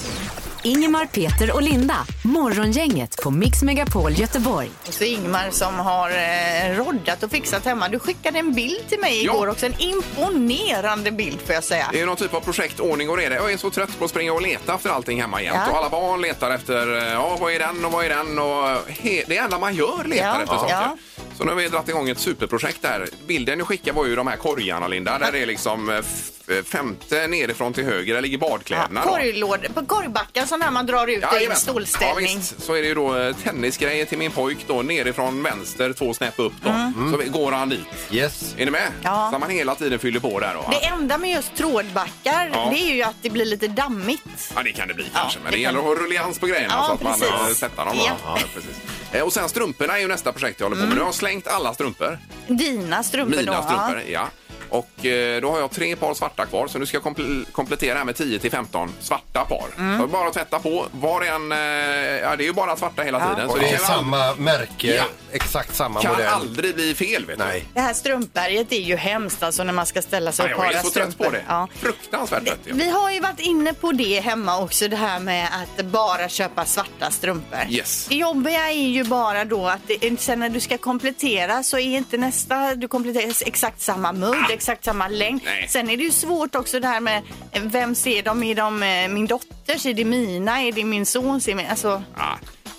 Speaker 1: Ingemar, Peter och Linda. Morgongänget på Mix Megapol Göteborg.
Speaker 4: Och så Ingmar som har eh, roddat och fixat hemma. Du skickade en bild till mig igår också. En imponerande bild får jag säga.
Speaker 2: Det är ju någon typ av projekt Ordning och reda. Jag är så trött på att springa och leta efter allting hemma jämt.
Speaker 4: Ja.
Speaker 2: Och alla barn letar efter eh, ja, vad är den och vad är den. Och he- det enda man gör letar
Speaker 4: Ja,
Speaker 2: efter
Speaker 4: ja.
Speaker 2: saker.
Speaker 4: Ja.
Speaker 2: Så nu har vi dragit igång ett superprojekt där. Bilden du skickade var ju de här korgarna Linda. Där det är liksom eh, f- femte nerifrån till höger. Där ligger badkläderna. då.
Speaker 4: Korglådor, på korgbackar sådana här man drar ut i en
Speaker 2: Jajamän.
Speaker 4: stolställning.
Speaker 2: Ja, visst. så är det ju då eh, tennisgrejer till min pojk då, nerifrån vänster, två snäpp upp då. Så vi- går han dit.
Speaker 3: Yes.
Speaker 2: Är ni med?
Speaker 4: Mm. Ja.
Speaker 2: Så man hela tiden fyller på där då.
Speaker 4: Det enda med just trådbackar
Speaker 2: Ja.
Speaker 4: det är ju att det blir lite dammigt.
Speaker 2: Ja, det kan det bli kanske. Men det gäller att ha rullians på grejerna
Speaker 4: Ja,
Speaker 2: så att man
Speaker 4: precis.
Speaker 2: eh, sätter dem.
Speaker 4: Ja.
Speaker 2: Ja, precis. Eh, Och sen strumporna är ju nästa projekt jag håller på med. Nu har jag slängt alla strumpor.
Speaker 4: Dina Mm. strumpor då.
Speaker 2: Mina strumpor,
Speaker 4: ja.
Speaker 2: ja. Och eh, då har jag tre par svarta kvar så nu ska jag komple- komplettera här med 10 till 15 svarta par.
Speaker 4: Mm.
Speaker 2: Så bara att tvätta på. Var en, eh, ja det är ju bara svarta hela tiden.
Speaker 3: Och
Speaker 2: Så
Speaker 3: det är
Speaker 2: kan ald-
Speaker 3: samma märke,
Speaker 2: Ja.
Speaker 3: exakt samma
Speaker 2: kan
Speaker 3: modell.
Speaker 2: aldrig bli fel vet
Speaker 3: Nej.
Speaker 4: Det här strumpberget är ju hemskt alltså när man ska ställa sig
Speaker 2: du.
Speaker 4: och
Speaker 2: Jag är
Speaker 4: para
Speaker 2: så trött på
Speaker 4: strumpor.
Speaker 2: det.
Speaker 4: Ja.
Speaker 2: Fruktansvärt trött. ja.
Speaker 4: Vi har ju varit inne på det hemma också, det här med att bara köpa svarta strumpor.
Speaker 2: Yes.
Speaker 4: Det jobbiga är ju bara då att det, sen när du ska komplettera så är inte nästa, du kompletterar exakt samma mudd, exakt samma längd.
Speaker 2: Nej.
Speaker 4: Sen är det ju svårt också det här med eh, vem ser dem? Är de eh, min dotters? Är det mina? Är det min sons? Är min, alltså,
Speaker 2: Ja,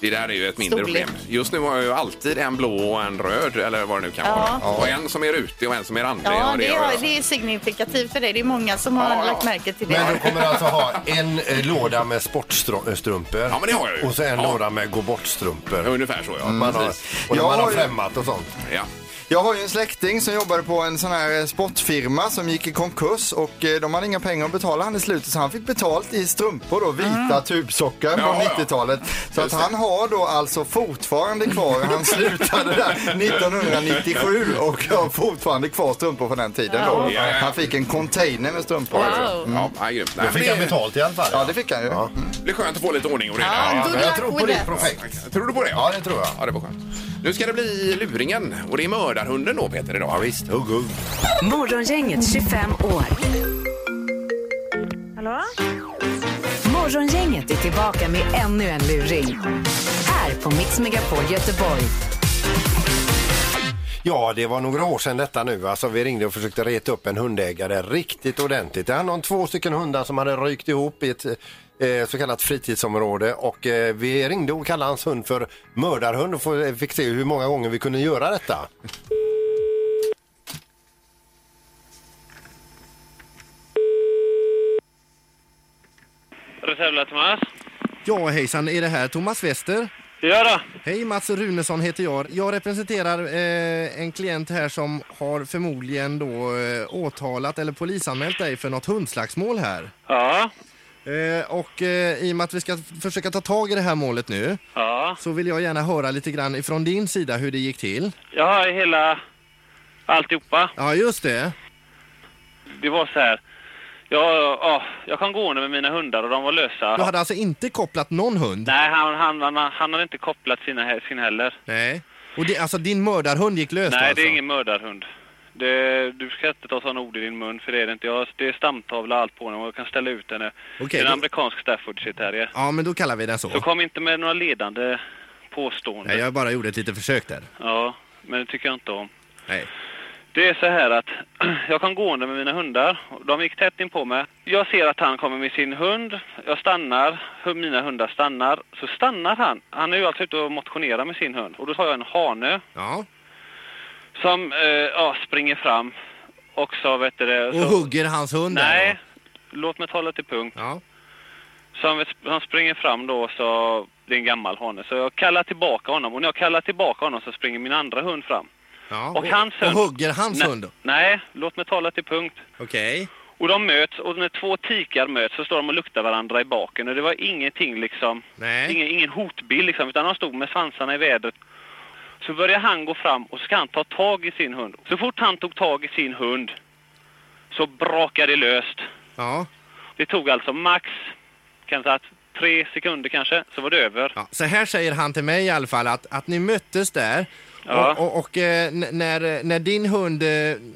Speaker 2: det där är ju ett mindre
Speaker 4: Storlek.
Speaker 2: problem. Just nu har jag ju alltid en blå och en röd eller vad det nu kan
Speaker 4: Ja.
Speaker 2: vara. Och en som är rutig och en som är randig.
Speaker 4: ja,
Speaker 2: och
Speaker 4: det,
Speaker 2: har
Speaker 4: är,
Speaker 2: jag.
Speaker 4: det är signifikativt för dig. Det är många som har
Speaker 2: Ja, ja.
Speaker 4: lagt märke till det.
Speaker 3: Men du kommer alltså ha en eh, låda med sportstrumpor
Speaker 2: Ja, men det har jag ju.
Speaker 3: och så en
Speaker 2: Ja.
Speaker 3: låda med gå bort-strumpor.
Speaker 2: Ungefär så ja.
Speaker 3: Man har,
Speaker 2: Precis.
Speaker 3: och när
Speaker 9: Jag
Speaker 3: man har
Speaker 9: har ju-
Speaker 3: främmat och sånt.
Speaker 2: Ja.
Speaker 9: Jag har ju en släkting som jobbade på en sån här eh, sportfirma som gick i konkurs och eh, de hade inga pengar att betala han i slutet så han fick betalt i strumpor då, vita tubsockar
Speaker 2: Ah. Ja, ja.
Speaker 9: från 90-talet. Så att
Speaker 2: Just
Speaker 9: han har då alltså fortfarande kvar, han slutade där 1997 och har fortfarande kvar strumpor från den tiden då.
Speaker 2: Ja.
Speaker 9: Han fick en container med strumpor.
Speaker 8: Wow.
Speaker 2: Ja, nej, grymt. Nej,
Speaker 3: Då
Speaker 2: men
Speaker 3: fick
Speaker 2: det
Speaker 3: jag betalt i alla fall.
Speaker 9: Ja, det fick han ju.
Speaker 2: det är skönt att få lite ordning och reda.
Speaker 4: Ja,
Speaker 2: Ja,
Speaker 4: good
Speaker 3: Jag
Speaker 4: luck
Speaker 3: tror på
Speaker 4: with
Speaker 3: ditt
Speaker 4: that.
Speaker 3: projekt.
Speaker 2: Tror du på det?
Speaker 3: Ja, det tror jag.
Speaker 2: Ja, det var skönt. Nu ska det bli luringen och det är mördarhunden då Peter idag. Ja, visst.
Speaker 3: Hugg, hugg.
Speaker 1: Morgongänget 25 år.
Speaker 7: Hallå?
Speaker 1: Morgongänget är tillbaka med ännu en luring. Här på Mix Megapol Göteborg.
Speaker 3: Ja, det var några år sedan detta nu. Alltså, vi ringde och försökte reta upp en hundägare riktigt ordentligt. Det handlade om två stycken hundar som hade rykt ihop i ett eh, så kallat fritidsområde och eh, vi ringde och kallade hans hund för mördarhund och få- eh, fick se hur många gånger vi kunde göra detta.
Speaker 11: Reservla Thomas.
Speaker 12: Ja, hejsan. Är det här Thomas Wester? Det gör det.
Speaker 13: Hej, Mats Runesson heter jag. Jag representerar eh, en klient här som har förmodligen då eh, åtalat eller polisanmält dig för något hundslagsmål här.
Speaker 12: Ja.
Speaker 13: Eh, och eh, i och med att vi ska f- försöka ta tag i det här målet nu
Speaker 12: Ja.
Speaker 13: så vill jag gärna höra lite grann ifrån din sida hur det gick till.
Speaker 12: Jag har hela alltihopa.
Speaker 13: Ja, just det.
Speaker 12: Det var så här. Jag, ja, jag kom gående med mina hundar och de var lösa.
Speaker 13: Du hade alltså inte kopplat någon hund?
Speaker 12: Nej, han, han, han, han hade inte kopplat sina, he- sin heller.
Speaker 13: Nej. Och det, alltså din mördarhund gick lös
Speaker 12: Nej,
Speaker 13: alltså?
Speaker 12: det är ingen mördarhund. Det, du ska inte ta sådana ord i din mun, för det är det inte. Jag, har- det är stamtavla och allt på henne och jag kan ställa ut henne.
Speaker 13: Okej,
Speaker 12: det är en
Speaker 13: då-
Speaker 12: amerikansk Staffordshire terrier.
Speaker 13: Ja, men då kallar vi den så.
Speaker 12: Så kom inte med några ledande påståenden.
Speaker 13: Nej, jag bara gjorde ett litet försök där.
Speaker 12: Ja, men det tycker jag inte om.
Speaker 13: Nej.
Speaker 12: Det är så här att jag kom gående med mina hundar. och De gick tätt in på mig. Jag ser att han kommer med sin hund. Jag stannar. Hu- Mina hundar stannar. Så stannar han. Han är ju alltså ute och motionerar med sin hund. Och då tar jag en hane
Speaker 13: Ja.
Speaker 12: som eh, ja, springer fram. Och så vet du det...
Speaker 13: Och
Speaker 12: så-
Speaker 13: hugger hans hund där
Speaker 12: Nej, låt mig tala till punkt.
Speaker 13: Ja.
Speaker 12: Så han, han springer fram då så... Det är en gammal hane. Så jag kallar tillbaka honom. Och när jag kallar tillbaka honom så springer min andra hund fram.
Speaker 13: Ja,
Speaker 12: Och hans hund.
Speaker 13: och hugger hans
Speaker 12: nej,
Speaker 13: hund.
Speaker 12: Nej, låt mig tala till punkt.
Speaker 13: Okej.
Speaker 12: Och de möts och när två tikar möts så står de och luktar varandra i baken och det var ingenting liksom.
Speaker 13: Nej.
Speaker 12: Ingen, ingen hotbild liksom utan de stod med svansarna i vädret. Så börjar han gå fram och ska han ta tag i sin hund. Så fort han tog tag i sin hund så brakade det löst.
Speaker 13: Ja.
Speaker 12: Det tog alltså max kanske att tre sekunder kanske så var det över.
Speaker 13: Så här säger han till mig i alla fall att, att ni möttes där
Speaker 12: Ja.
Speaker 13: och, och, och eh, n- när, när, din hund, eh,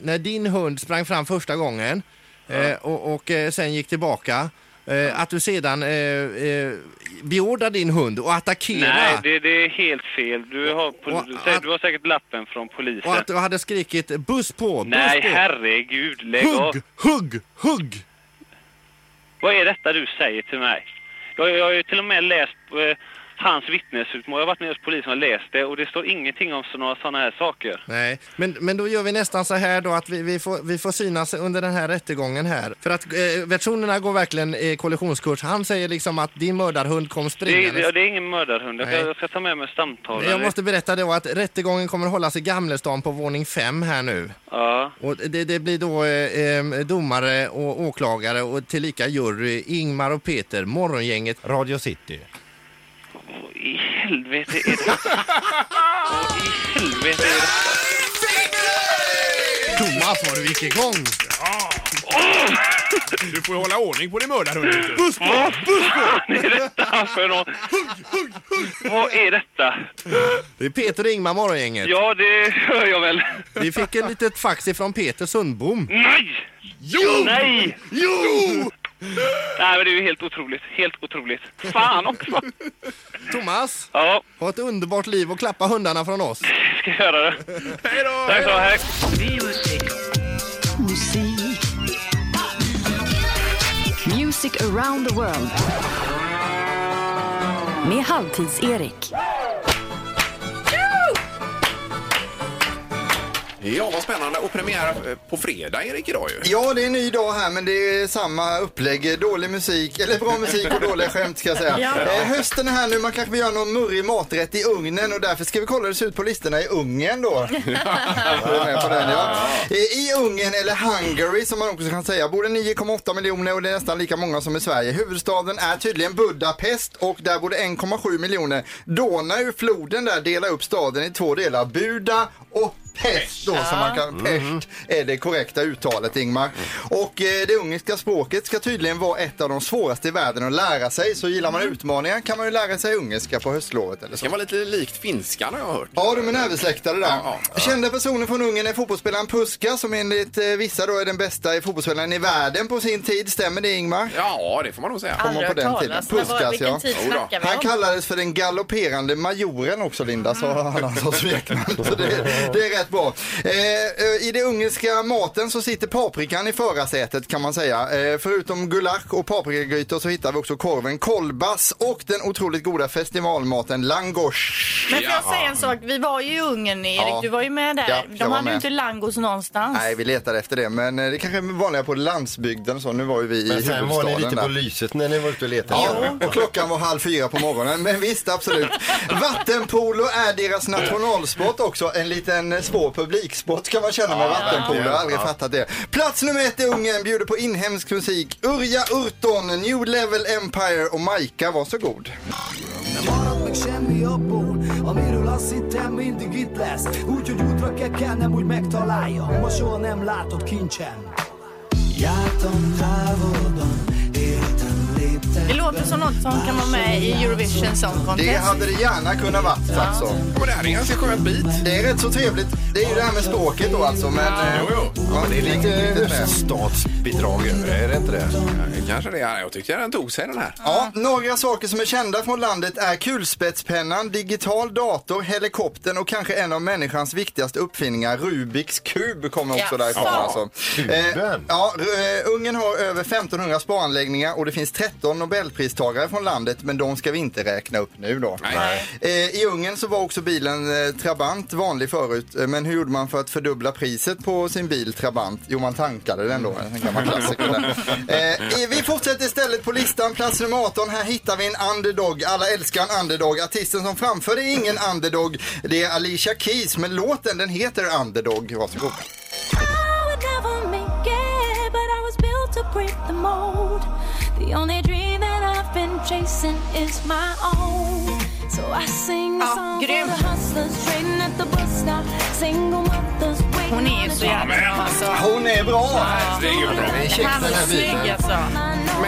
Speaker 13: när din hund sprang fram första gången eh, och, och eh, sen gick tillbaka eh, att du sedan eh, eh, beordrar din hund att attackera
Speaker 12: Nej, det, det är helt fel. Du har, pol- du säger- du har säkert lappen från polisen.
Speaker 13: och att du hade skrikit buss på, buss
Speaker 12: Nej,
Speaker 13: på.
Speaker 12: herregud, lägg av.
Speaker 13: Hugg, hugg, hugg!
Speaker 12: Vad är detta du säger till mig? Jag, jag har ju till och med läst eh, hans vittnesutmål. Jag har varit med hos polisen och läst det och det står ingenting om så, några sådana här saker.
Speaker 13: Nej, men, men då gör vi nästan så här då att vi, vi, får, vi får synas under den här rättegången här. För att eh, versionerna går verkligen eh, kollisionskurs. Han säger liksom att din mördarhund kom
Speaker 12: Det,
Speaker 13: springandes.
Speaker 12: är- ja, det är ingen mördarhund. Jag, ska-
Speaker 13: Nej.
Speaker 12: jag ska ta med mig stamtavlan.
Speaker 13: Jag måste berätta då att rättegången kommer att hållas i Gamlestan på våning 5 här nu.
Speaker 12: Ja.
Speaker 13: Och det, det blir då eh, eh, domare och åklagare och tillika jury Ingmar och Peter, Morgongänget, Radio City.
Speaker 12: Vad i helvete är detta? Vad i helvete är detta?
Speaker 13: Thomas, var du gick igång?
Speaker 14: Du får ju hålla ordning på din mördarhund. vet du.
Speaker 13: Buss
Speaker 12: Vad fan är detta för något? Vad är detta?
Speaker 13: Det är Peter och Ingmar, Morgongänget.
Speaker 12: Ja, det hör jag väl.
Speaker 13: Vi fick ett litet fax ifrån Peter Sundbom.
Speaker 12: Nej!
Speaker 13: Jo!
Speaker 12: Nej! Jo! Nej, men det är ju helt otroligt. Helt otroligt. Fan också!
Speaker 13: Thomas,
Speaker 12: ja.
Speaker 13: ha ett underbart liv och klappa hundarna från oss.
Speaker 12: Ska jag göra det. Hej då! Tack så hej.
Speaker 1: Musik. Music around the world. Med Halvtids-Erik.
Speaker 2: Ja, vad spännande. Och premiär eh, på fredag, Erik, idag ju.
Speaker 9: Ja, det är en ny dag här men det är samma upplägg. Dålig musik, eller bra musik och dåliga skämt ska jag säga.
Speaker 2: Ja.
Speaker 9: Eh, hösten är här nu, man kanske vill göra någon murrig maträtt i ugnen och därför ska vi kolla hur det ser ut på listorna i Ungern då. Jag är med på den, ja. Eh, I Ungern, eller Hungary som man också kan säga, bor det 9,8 miljoner och det är nästan lika många som i Sverige. Huvudstaden är tydligen Budapest och där bor det 1,7 miljoner. Donau, floden där, delar upp staden i två delar, Buda och Pest då, som man kan, Pest är det korrekta uttalet Ingmar. Och eh, det ungerska språket ska tydligen vara ett av de svåraste i världen att lära sig. Så gillar man utmaningar kan man ju lära sig ungerska på höstlovet eller så.
Speaker 2: Det var lite likt finskan har jag hört.
Speaker 9: Ja, de är närbesläktade där. Kända personer från Ungern är fotbollsspelaren Puska som enligt eh, vissa då är den bästa fotbollsspelaren i världen på sin tid. Stämmer det Ingmar?
Speaker 2: Ja, det får man nog säga.
Speaker 9: Kommer på den tiden. Puskas, ja. Han kallades för den galopperande majoren också Linda, så han har alltså smeknamn. Så det, det är rätt rätt bra. Eh, eh, I den ungerska maten så sitter paprikan i förarsätet kan man säga. Eh, förutom gulasch och paprikagrytor så hittar vi också korven kolbas och den otroligt goda festivalmaten langos.
Speaker 8: Men får jag säga en sak? Vi var ju i Ungern, Erik.
Speaker 9: Ja.
Speaker 8: Du var ju med där.
Speaker 9: Ja, jag
Speaker 8: De
Speaker 9: var
Speaker 8: hade ju
Speaker 9: med.
Speaker 8: inte langos någonstans.
Speaker 3: Alltså.
Speaker 9: Nej, vi letar efter det, men eh, det kanske är vanligare på landsbygden och så. Nu var ju vi i
Speaker 3: Men sen
Speaker 9: huvudstaden.
Speaker 3: var ni lite
Speaker 9: där.
Speaker 3: på lyset när ni var ute och letade.
Speaker 9: Ja, och klockan var halv fyra på morgonen. Men visst, absolut. Vattenpolo är deras nationalsport också. En liten eh, svår publiksport kan man känna med
Speaker 3: Ja,
Speaker 9: vattenpolo. Jag har aldrig
Speaker 3: ja.
Speaker 9: fattat det. Plats nummer ett i Ungern bjuder på inhemsk musik. Urja Urton, New Level Empire och Maika, varsågod.
Speaker 15: Maradt meg semmi abból, amiről azt hittem mindig itt lesz Úgyhogy útra kell kelnem, úgy megtaláljam Ma soha nem látott kincsem Jártam távolodon, éltem léptem
Speaker 8: Det låter som något som kan vara med i Eurovision Song Contest.
Speaker 9: Det hade det gärna kunnat varit alltså.
Speaker 2: Och det här är en ganska skönt bit.
Speaker 9: Det är rätt så trevligt. Det är ju det här med språket då alltså. Men, eh, ja,
Speaker 2: men det är
Speaker 9: riktigt,
Speaker 2: lite
Speaker 9: riktigt med.
Speaker 2: statsbidrag över det, är det inte det? Kanske det är. Jag tyckte den tog sig den här.
Speaker 9: Ja, några saker som är kända från landet är kulspetspennan, digital dator, helikoptern och kanske en av människans viktigaste uppfinningar, Rubiks kub, kommer också
Speaker 3: Jaså?
Speaker 9: därifrån. Alltså.
Speaker 3: Kuben.
Speaker 9: Eh, ja, r- eh, Ungern har över 1500 sparanläggningar och det finns 13 nobelpristagare från landet, men de ska vi inte räkna upp nu då. Eh, I Ungern så var också bilen eh, Trabant vanlig förut, eh, men hur gjorde man för att fördubbla priset på sin bil Trabant? Jo, man tankade den då, en gammal klassiker. där. Eh, vi fortsätter istället på listan, plats nummer 18. Här hittar vi en underdog. Alla älskar en underdog. Artisten som framförde är ingen underdog. Det är Alicia Keys, men låten den heter Underdog. Varsågod.
Speaker 16: would never make it, but I was built to break the mold. The only dream that I've been chasing is my own. So I sing a
Speaker 8: Ja,
Speaker 16: song for
Speaker 8: grymt.
Speaker 16: the hustlers trading at the bus stop. Single mothers waiting
Speaker 8: Hon är
Speaker 16: on
Speaker 8: ju
Speaker 16: a
Speaker 8: så
Speaker 16: job.
Speaker 8: jävla bra alltså.
Speaker 9: Hon är bra!
Speaker 2: Herregud.
Speaker 8: Han är snygg alltså.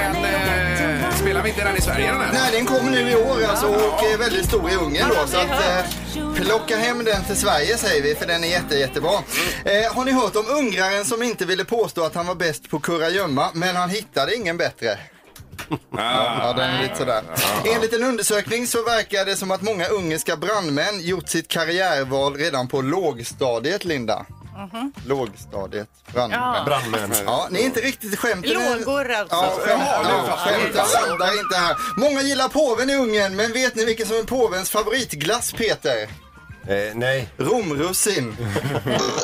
Speaker 2: Men eh, spelar vi inte den i Sverige den här?
Speaker 9: Nej, den kommer nu i år alltså och är väldigt stor i Ungern då. Så att, eh, plocka hem den till Sverige säger vi, för den är jätte, jättebra. Eh, har ni hört om ungraren som inte ville påstå att han var bäst på kurragömma, men han hittade ingen bättre? Ja, den är lite sådär. Enligt en undersökning så verkar det som att många ungerska brandmän gjort sitt karriärval redan på lågstadiet, Linda.
Speaker 8: Mhm.
Speaker 9: Lågstadiet, brandmän.
Speaker 8: Ja. Brandmän.
Speaker 9: Ja, ni är inte riktigt skämt.
Speaker 8: Lågor alltså.
Speaker 9: Ja, skämt,
Speaker 8: Jaha, nu
Speaker 9: ja,
Speaker 8: fattar jag.
Speaker 9: skämt
Speaker 2: Alltså,
Speaker 9: landar inte här. Många gillar påven i Ungern, men vet ni vilken som är påvens favoritglass, Peter?
Speaker 3: Eh, nej.
Speaker 9: Romrussin.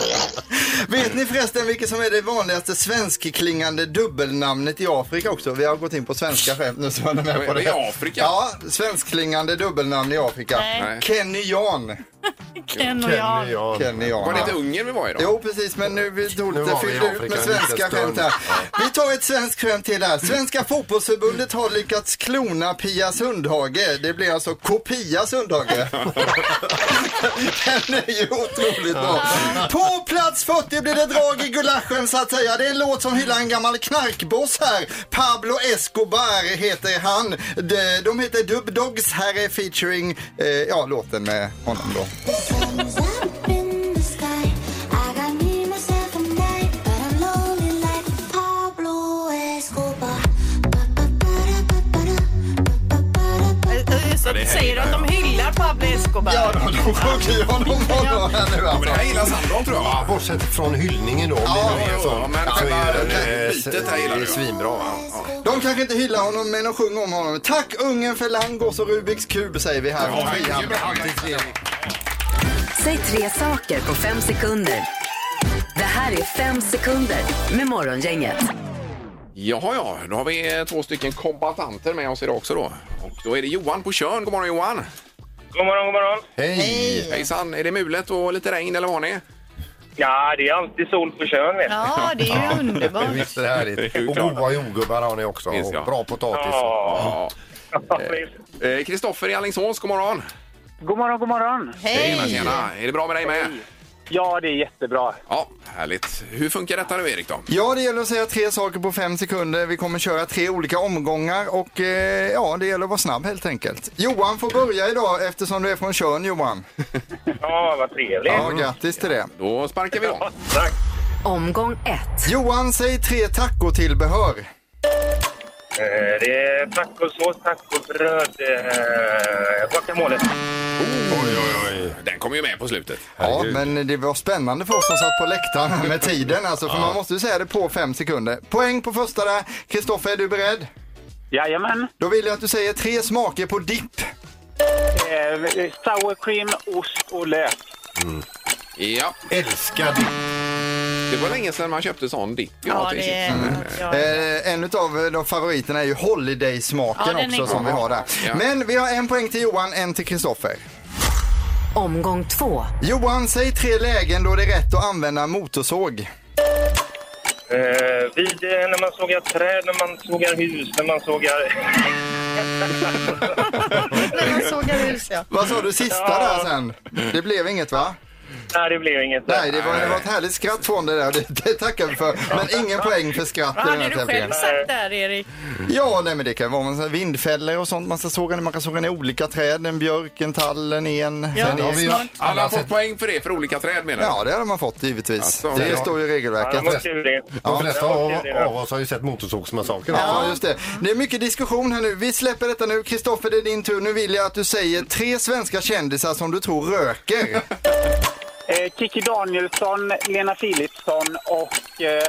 Speaker 9: Vet ni förresten vilket som är det vanligaste svenskklingande dubbelnamnet i Afrika också? Vi har gått in på svenska skämt nu så var ni med på det.
Speaker 2: I Afrika?
Speaker 9: Ja, svenskklingande dubbelnamn i Afrika.
Speaker 2: Nej. Nej.
Speaker 9: Kenny Jan.
Speaker 8: Ken
Speaker 2: och Jan. Kenny Jan.
Speaker 9: Kenny Jan.
Speaker 2: Var det inte Ungern vi var i då?
Speaker 9: Jo, precis, men nu vi tog
Speaker 2: Nu
Speaker 9: lite
Speaker 2: var vi i
Speaker 9: fyllde ut
Speaker 2: Afrika en
Speaker 9: med
Speaker 2: liten
Speaker 9: svenska
Speaker 2: stund.
Speaker 9: skämt här. Vi tar ett svenskt skämt till här. Svenska fotbollsförbundet har lyckats klona Pia Sundhage. Det blir alltså Kopia Sundhage. Den är ju otroligt bra. På plats 40 blir det drag i gulaschen så att säga. Det är en låt som hyllar en gammal knarkboss här. Pablo Escobar heter han. De, de heter Dub Dogs. Här är featuring, eh, ja, låten med honom då.
Speaker 8: Så
Speaker 2: det här
Speaker 8: säger du att de hyllar Pablo Escobar?
Speaker 9: Ja, de sjunger ju honom
Speaker 8: Ja.
Speaker 9: här nu alltså.
Speaker 2: Ja, men det här gillar Sandholm tror jag.
Speaker 3: Ja, bortsett från hyllningen då. Om
Speaker 9: Ja,
Speaker 3: det nu är
Speaker 2: jo,
Speaker 3: så.
Speaker 2: jo, men
Speaker 3: så
Speaker 2: själva
Speaker 3: är den,
Speaker 2: det-
Speaker 3: eh,
Speaker 2: bitet här gillar
Speaker 3: det är
Speaker 2: du.
Speaker 3: svinbra. va?
Speaker 9: De kanske inte hyllar honom, men de sjunger om honom. Tack ungen för langos och Rubiks kub, säger vi här. från Frihamn.
Speaker 1: Säg tre saker på fem sekunder. Det här är fem sekunder med Morgongänget.
Speaker 2: Jaha, ja. Då har vi eh, två stycken kombatanter med oss idag också då. Och då är det Johan på Tjörn. God morgon Johan!
Speaker 17: God morgon, god morgon.
Speaker 2: Hej! Hejsan! Är det mulet och lite regn eller vad har ni?
Speaker 17: Ja, det är alltid sol på Tjörn. Vet. du.
Speaker 8: Ja, det är ju underbart.
Speaker 3: Visst är det härligt. Och goda jordgubbar har ni också. Och bra potatis.
Speaker 2: Ja. Eh, eh, Kristoffer i Alingsås, god morgon!
Speaker 17: God morgon, god morgon!
Speaker 2: Tjena, tjena! Är det bra med dig med?
Speaker 17: Ja, det är jättebra.
Speaker 2: Ja, härligt. Hur funkar detta nu Erik då?
Speaker 9: Ja, det gäller att säga tre saker på fem sekunder. Vi kommer köra tre olika omgångar och eh, ja, det gäller att vara snabb helt enkelt. Johan får börja idag eftersom du är från Tjörn, Johan.
Speaker 17: Ja, vad trevligt.
Speaker 9: Ja, grattis till det.
Speaker 2: Då sparkar vi igång.
Speaker 1: Omgång ett.
Speaker 9: Johan, säg tre tacotillbehör.
Speaker 17: Eh, Det är tacosås, tacobröd, eh, guacamole.
Speaker 2: Oj, oj, oj. Den kom ju med på slutet.
Speaker 9: Ja, men det var spännande för oss som satt på läktaren med tiden alltså, för
Speaker 2: Ja.
Speaker 9: man måste ju säga det på fem sekunder. Poäng på första där. Kristoffer, är du beredd?
Speaker 17: Jajamän.
Speaker 9: Då vill jag att du säger tre smaker på dipp.
Speaker 17: Eh, Sour cream, ost och lök.
Speaker 2: Ja.
Speaker 3: Älskar dipp.
Speaker 2: Det var länge sedan man köpte sån dipp.
Speaker 17: Ja,
Speaker 2: till
Speaker 17: det
Speaker 2: chips.
Speaker 17: är-
Speaker 2: Mm.
Speaker 9: Eh, en av de favoriterna är ju
Speaker 1: Ja, den
Speaker 9: Holiday-smaken
Speaker 1: är
Speaker 9: också
Speaker 1: god.
Speaker 9: som vi har där.
Speaker 1: Ja.
Speaker 9: Men vi har en poäng till Johan, en till Kristoffer.
Speaker 1: Omgång två.
Speaker 9: Johan, säg tre lägen då det är rätt att använda motorsåg.
Speaker 17: Eh, vid, eh, när man sågar träd, när man sågar hus, när man sågar...
Speaker 4: När man sågar hus, ja.
Speaker 9: Vad sa du sista där sen? Det blev inget va?
Speaker 17: Nej, det blev inget.
Speaker 9: Nej, det var, det var ett härligt skratt från det där. Det, det tackar vi för. Men ingen poäng för skratt i
Speaker 8: Vad
Speaker 9: den här
Speaker 8: hade du själv
Speaker 9: tävlingen.
Speaker 8: sagt där, Erik?
Speaker 9: Ja, nej, men det kan vara man säger, vindfällor och sånt. Man ska såga ner, man kan såga ner olika träd. En björk, en tall, en en.
Speaker 2: Ja,
Speaker 9: en
Speaker 2: det har vi ju-
Speaker 9: en.
Speaker 2: Alla har fått poäng för det, för olika träd menar du?
Speaker 9: Ja, det har man fått givetvis.
Speaker 2: Ja, så.
Speaker 9: det
Speaker 2: Ja.
Speaker 9: står ju i regelverket.
Speaker 2: Ja, det var kul det.
Speaker 9: Ja.
Speaker 3: De flesta av, av oss har ju sett Motorsågsmassakern.
Speaker 9: Ja, just det. Det är mycket diskussion här nu. Vi släpper detta nu. Kristoffer, det är din tur. Nu vill jag att du säger tre svenska kändisar som du tror röker.
Speaker 17: Eh, Kiki Danielsson, Lena Philipsson och... Eh,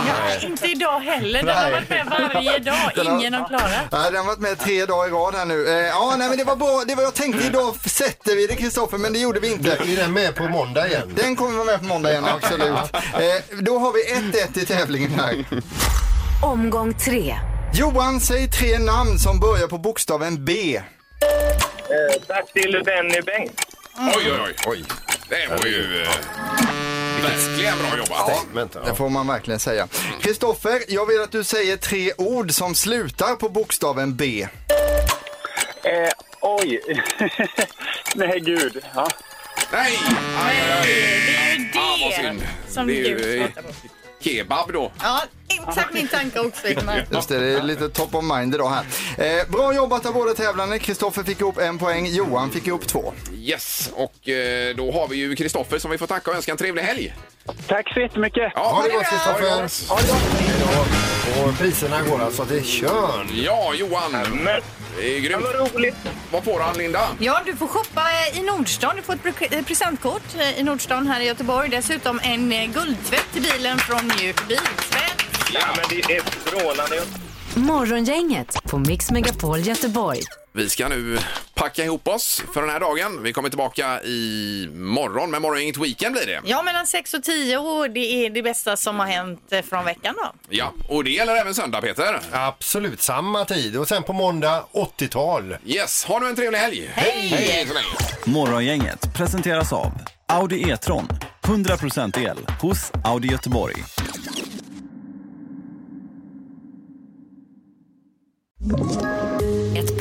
Speaker 8: Ja, inte idag heller. Den har varit med varje dag.
Speaker 9: Den har-
Speaker 8: Ingen har klarat.
Speaker 9: Nej, den har varit med tre dagar i rad här nu. Eh, ja, nej, men det var bra. Det var jag tänkte idag sätter vi det Kristoffer, men det gjorde vi inte.
Speaker 3: Är den med på måndag igen?
Speaker 9: Den kommer vara med på måndag igen, absolut. Eh, då har vi 1-1 i tävlingen här.
Speaker 1: Omgång tre.
Speaker 9: Johan, säg tre namn som börjar på bokstaven B.
Speaker 17: eh, Bertil Benny Bengt.
Speaker 2: Oj, oj, oj. oj. Det var ju eh, verkligen bra jobbat.
Speaker 9: Det får man verkligen säga. Kristoffer, jag vill att du säger tre ord som slutar på bokstaven B.
Speaker 17: Eh, oj. Nej, gud. Ja.
Speaker 2: Nej! Aj, aj, aj.
Speaker 8: Det är ju
Speaker 2: Ah, vad
Speaker 8: det
Speaker 2: synd.
Speaker 8: som
Speaker 2: Det är ju,
Speaker 8: du
Speaker 2: eh,
Speaker 8: pratar om.
Speaker 2: Kebab då.
Speaker 4: Ja, exakt min tanke också, Ingmar.
Speaker 9: Just det, det är lite top of mind idag här. Eh, bra jobbat av båda tävlande. Kristoffer fick ihop en poäng, Johan fick ihop två.
Speaker 2: Yes, och eh, då har vi ju Kristoffer som vi får tacka och önska en trevlig helg.
Speaker 17: Tack så jättemycket.
Speaker 2: Ja, ha det
Speaker 3: gott, Kristoffer.
Speaker 2: Ha det gott.
Speaker 3: Och priserna går alltså till kön.
Speaker 2: Ja, Johan. Det är grymt. Vad roligt. Vad får han, Linda?
Speaker 4: Ja, du får shoppa eh, i Nordstan. Du får ett pre- eh, presentkort eh, i Nordstan här i Göteborg. Dessutom en eh, guldtvätt till bilen från Mjuk Biltvätt.
Speaker 17: Ja, men det är strålande.
Speaker 1: Morgongänget på Mix Megapol Göteborg.
Speaker 2: Vi ska nu packa ihop oss för den här dagen. Vi kommer tillbaka i morgon, men morgon är inget weekend blir det.
Speaker 8: Ja, mellan 6 och 10 och det är det bästa som har hänt eh, från veckan då.
Speaker 2: Ja, och det gäller även söndag, Peter.
Speaker 3: Absolut, samma tid. Och sen på måndag 80-tal.
Speaker 2: Yes, ha nu en trevlig helg.
Speaker 8: Hej!
Speaker 2: Hej så länge.
Speaker 18: Morgongänget presenteras av Audi E-tron. 100% el hos Audi Göteborg.
Speaker 19: Ett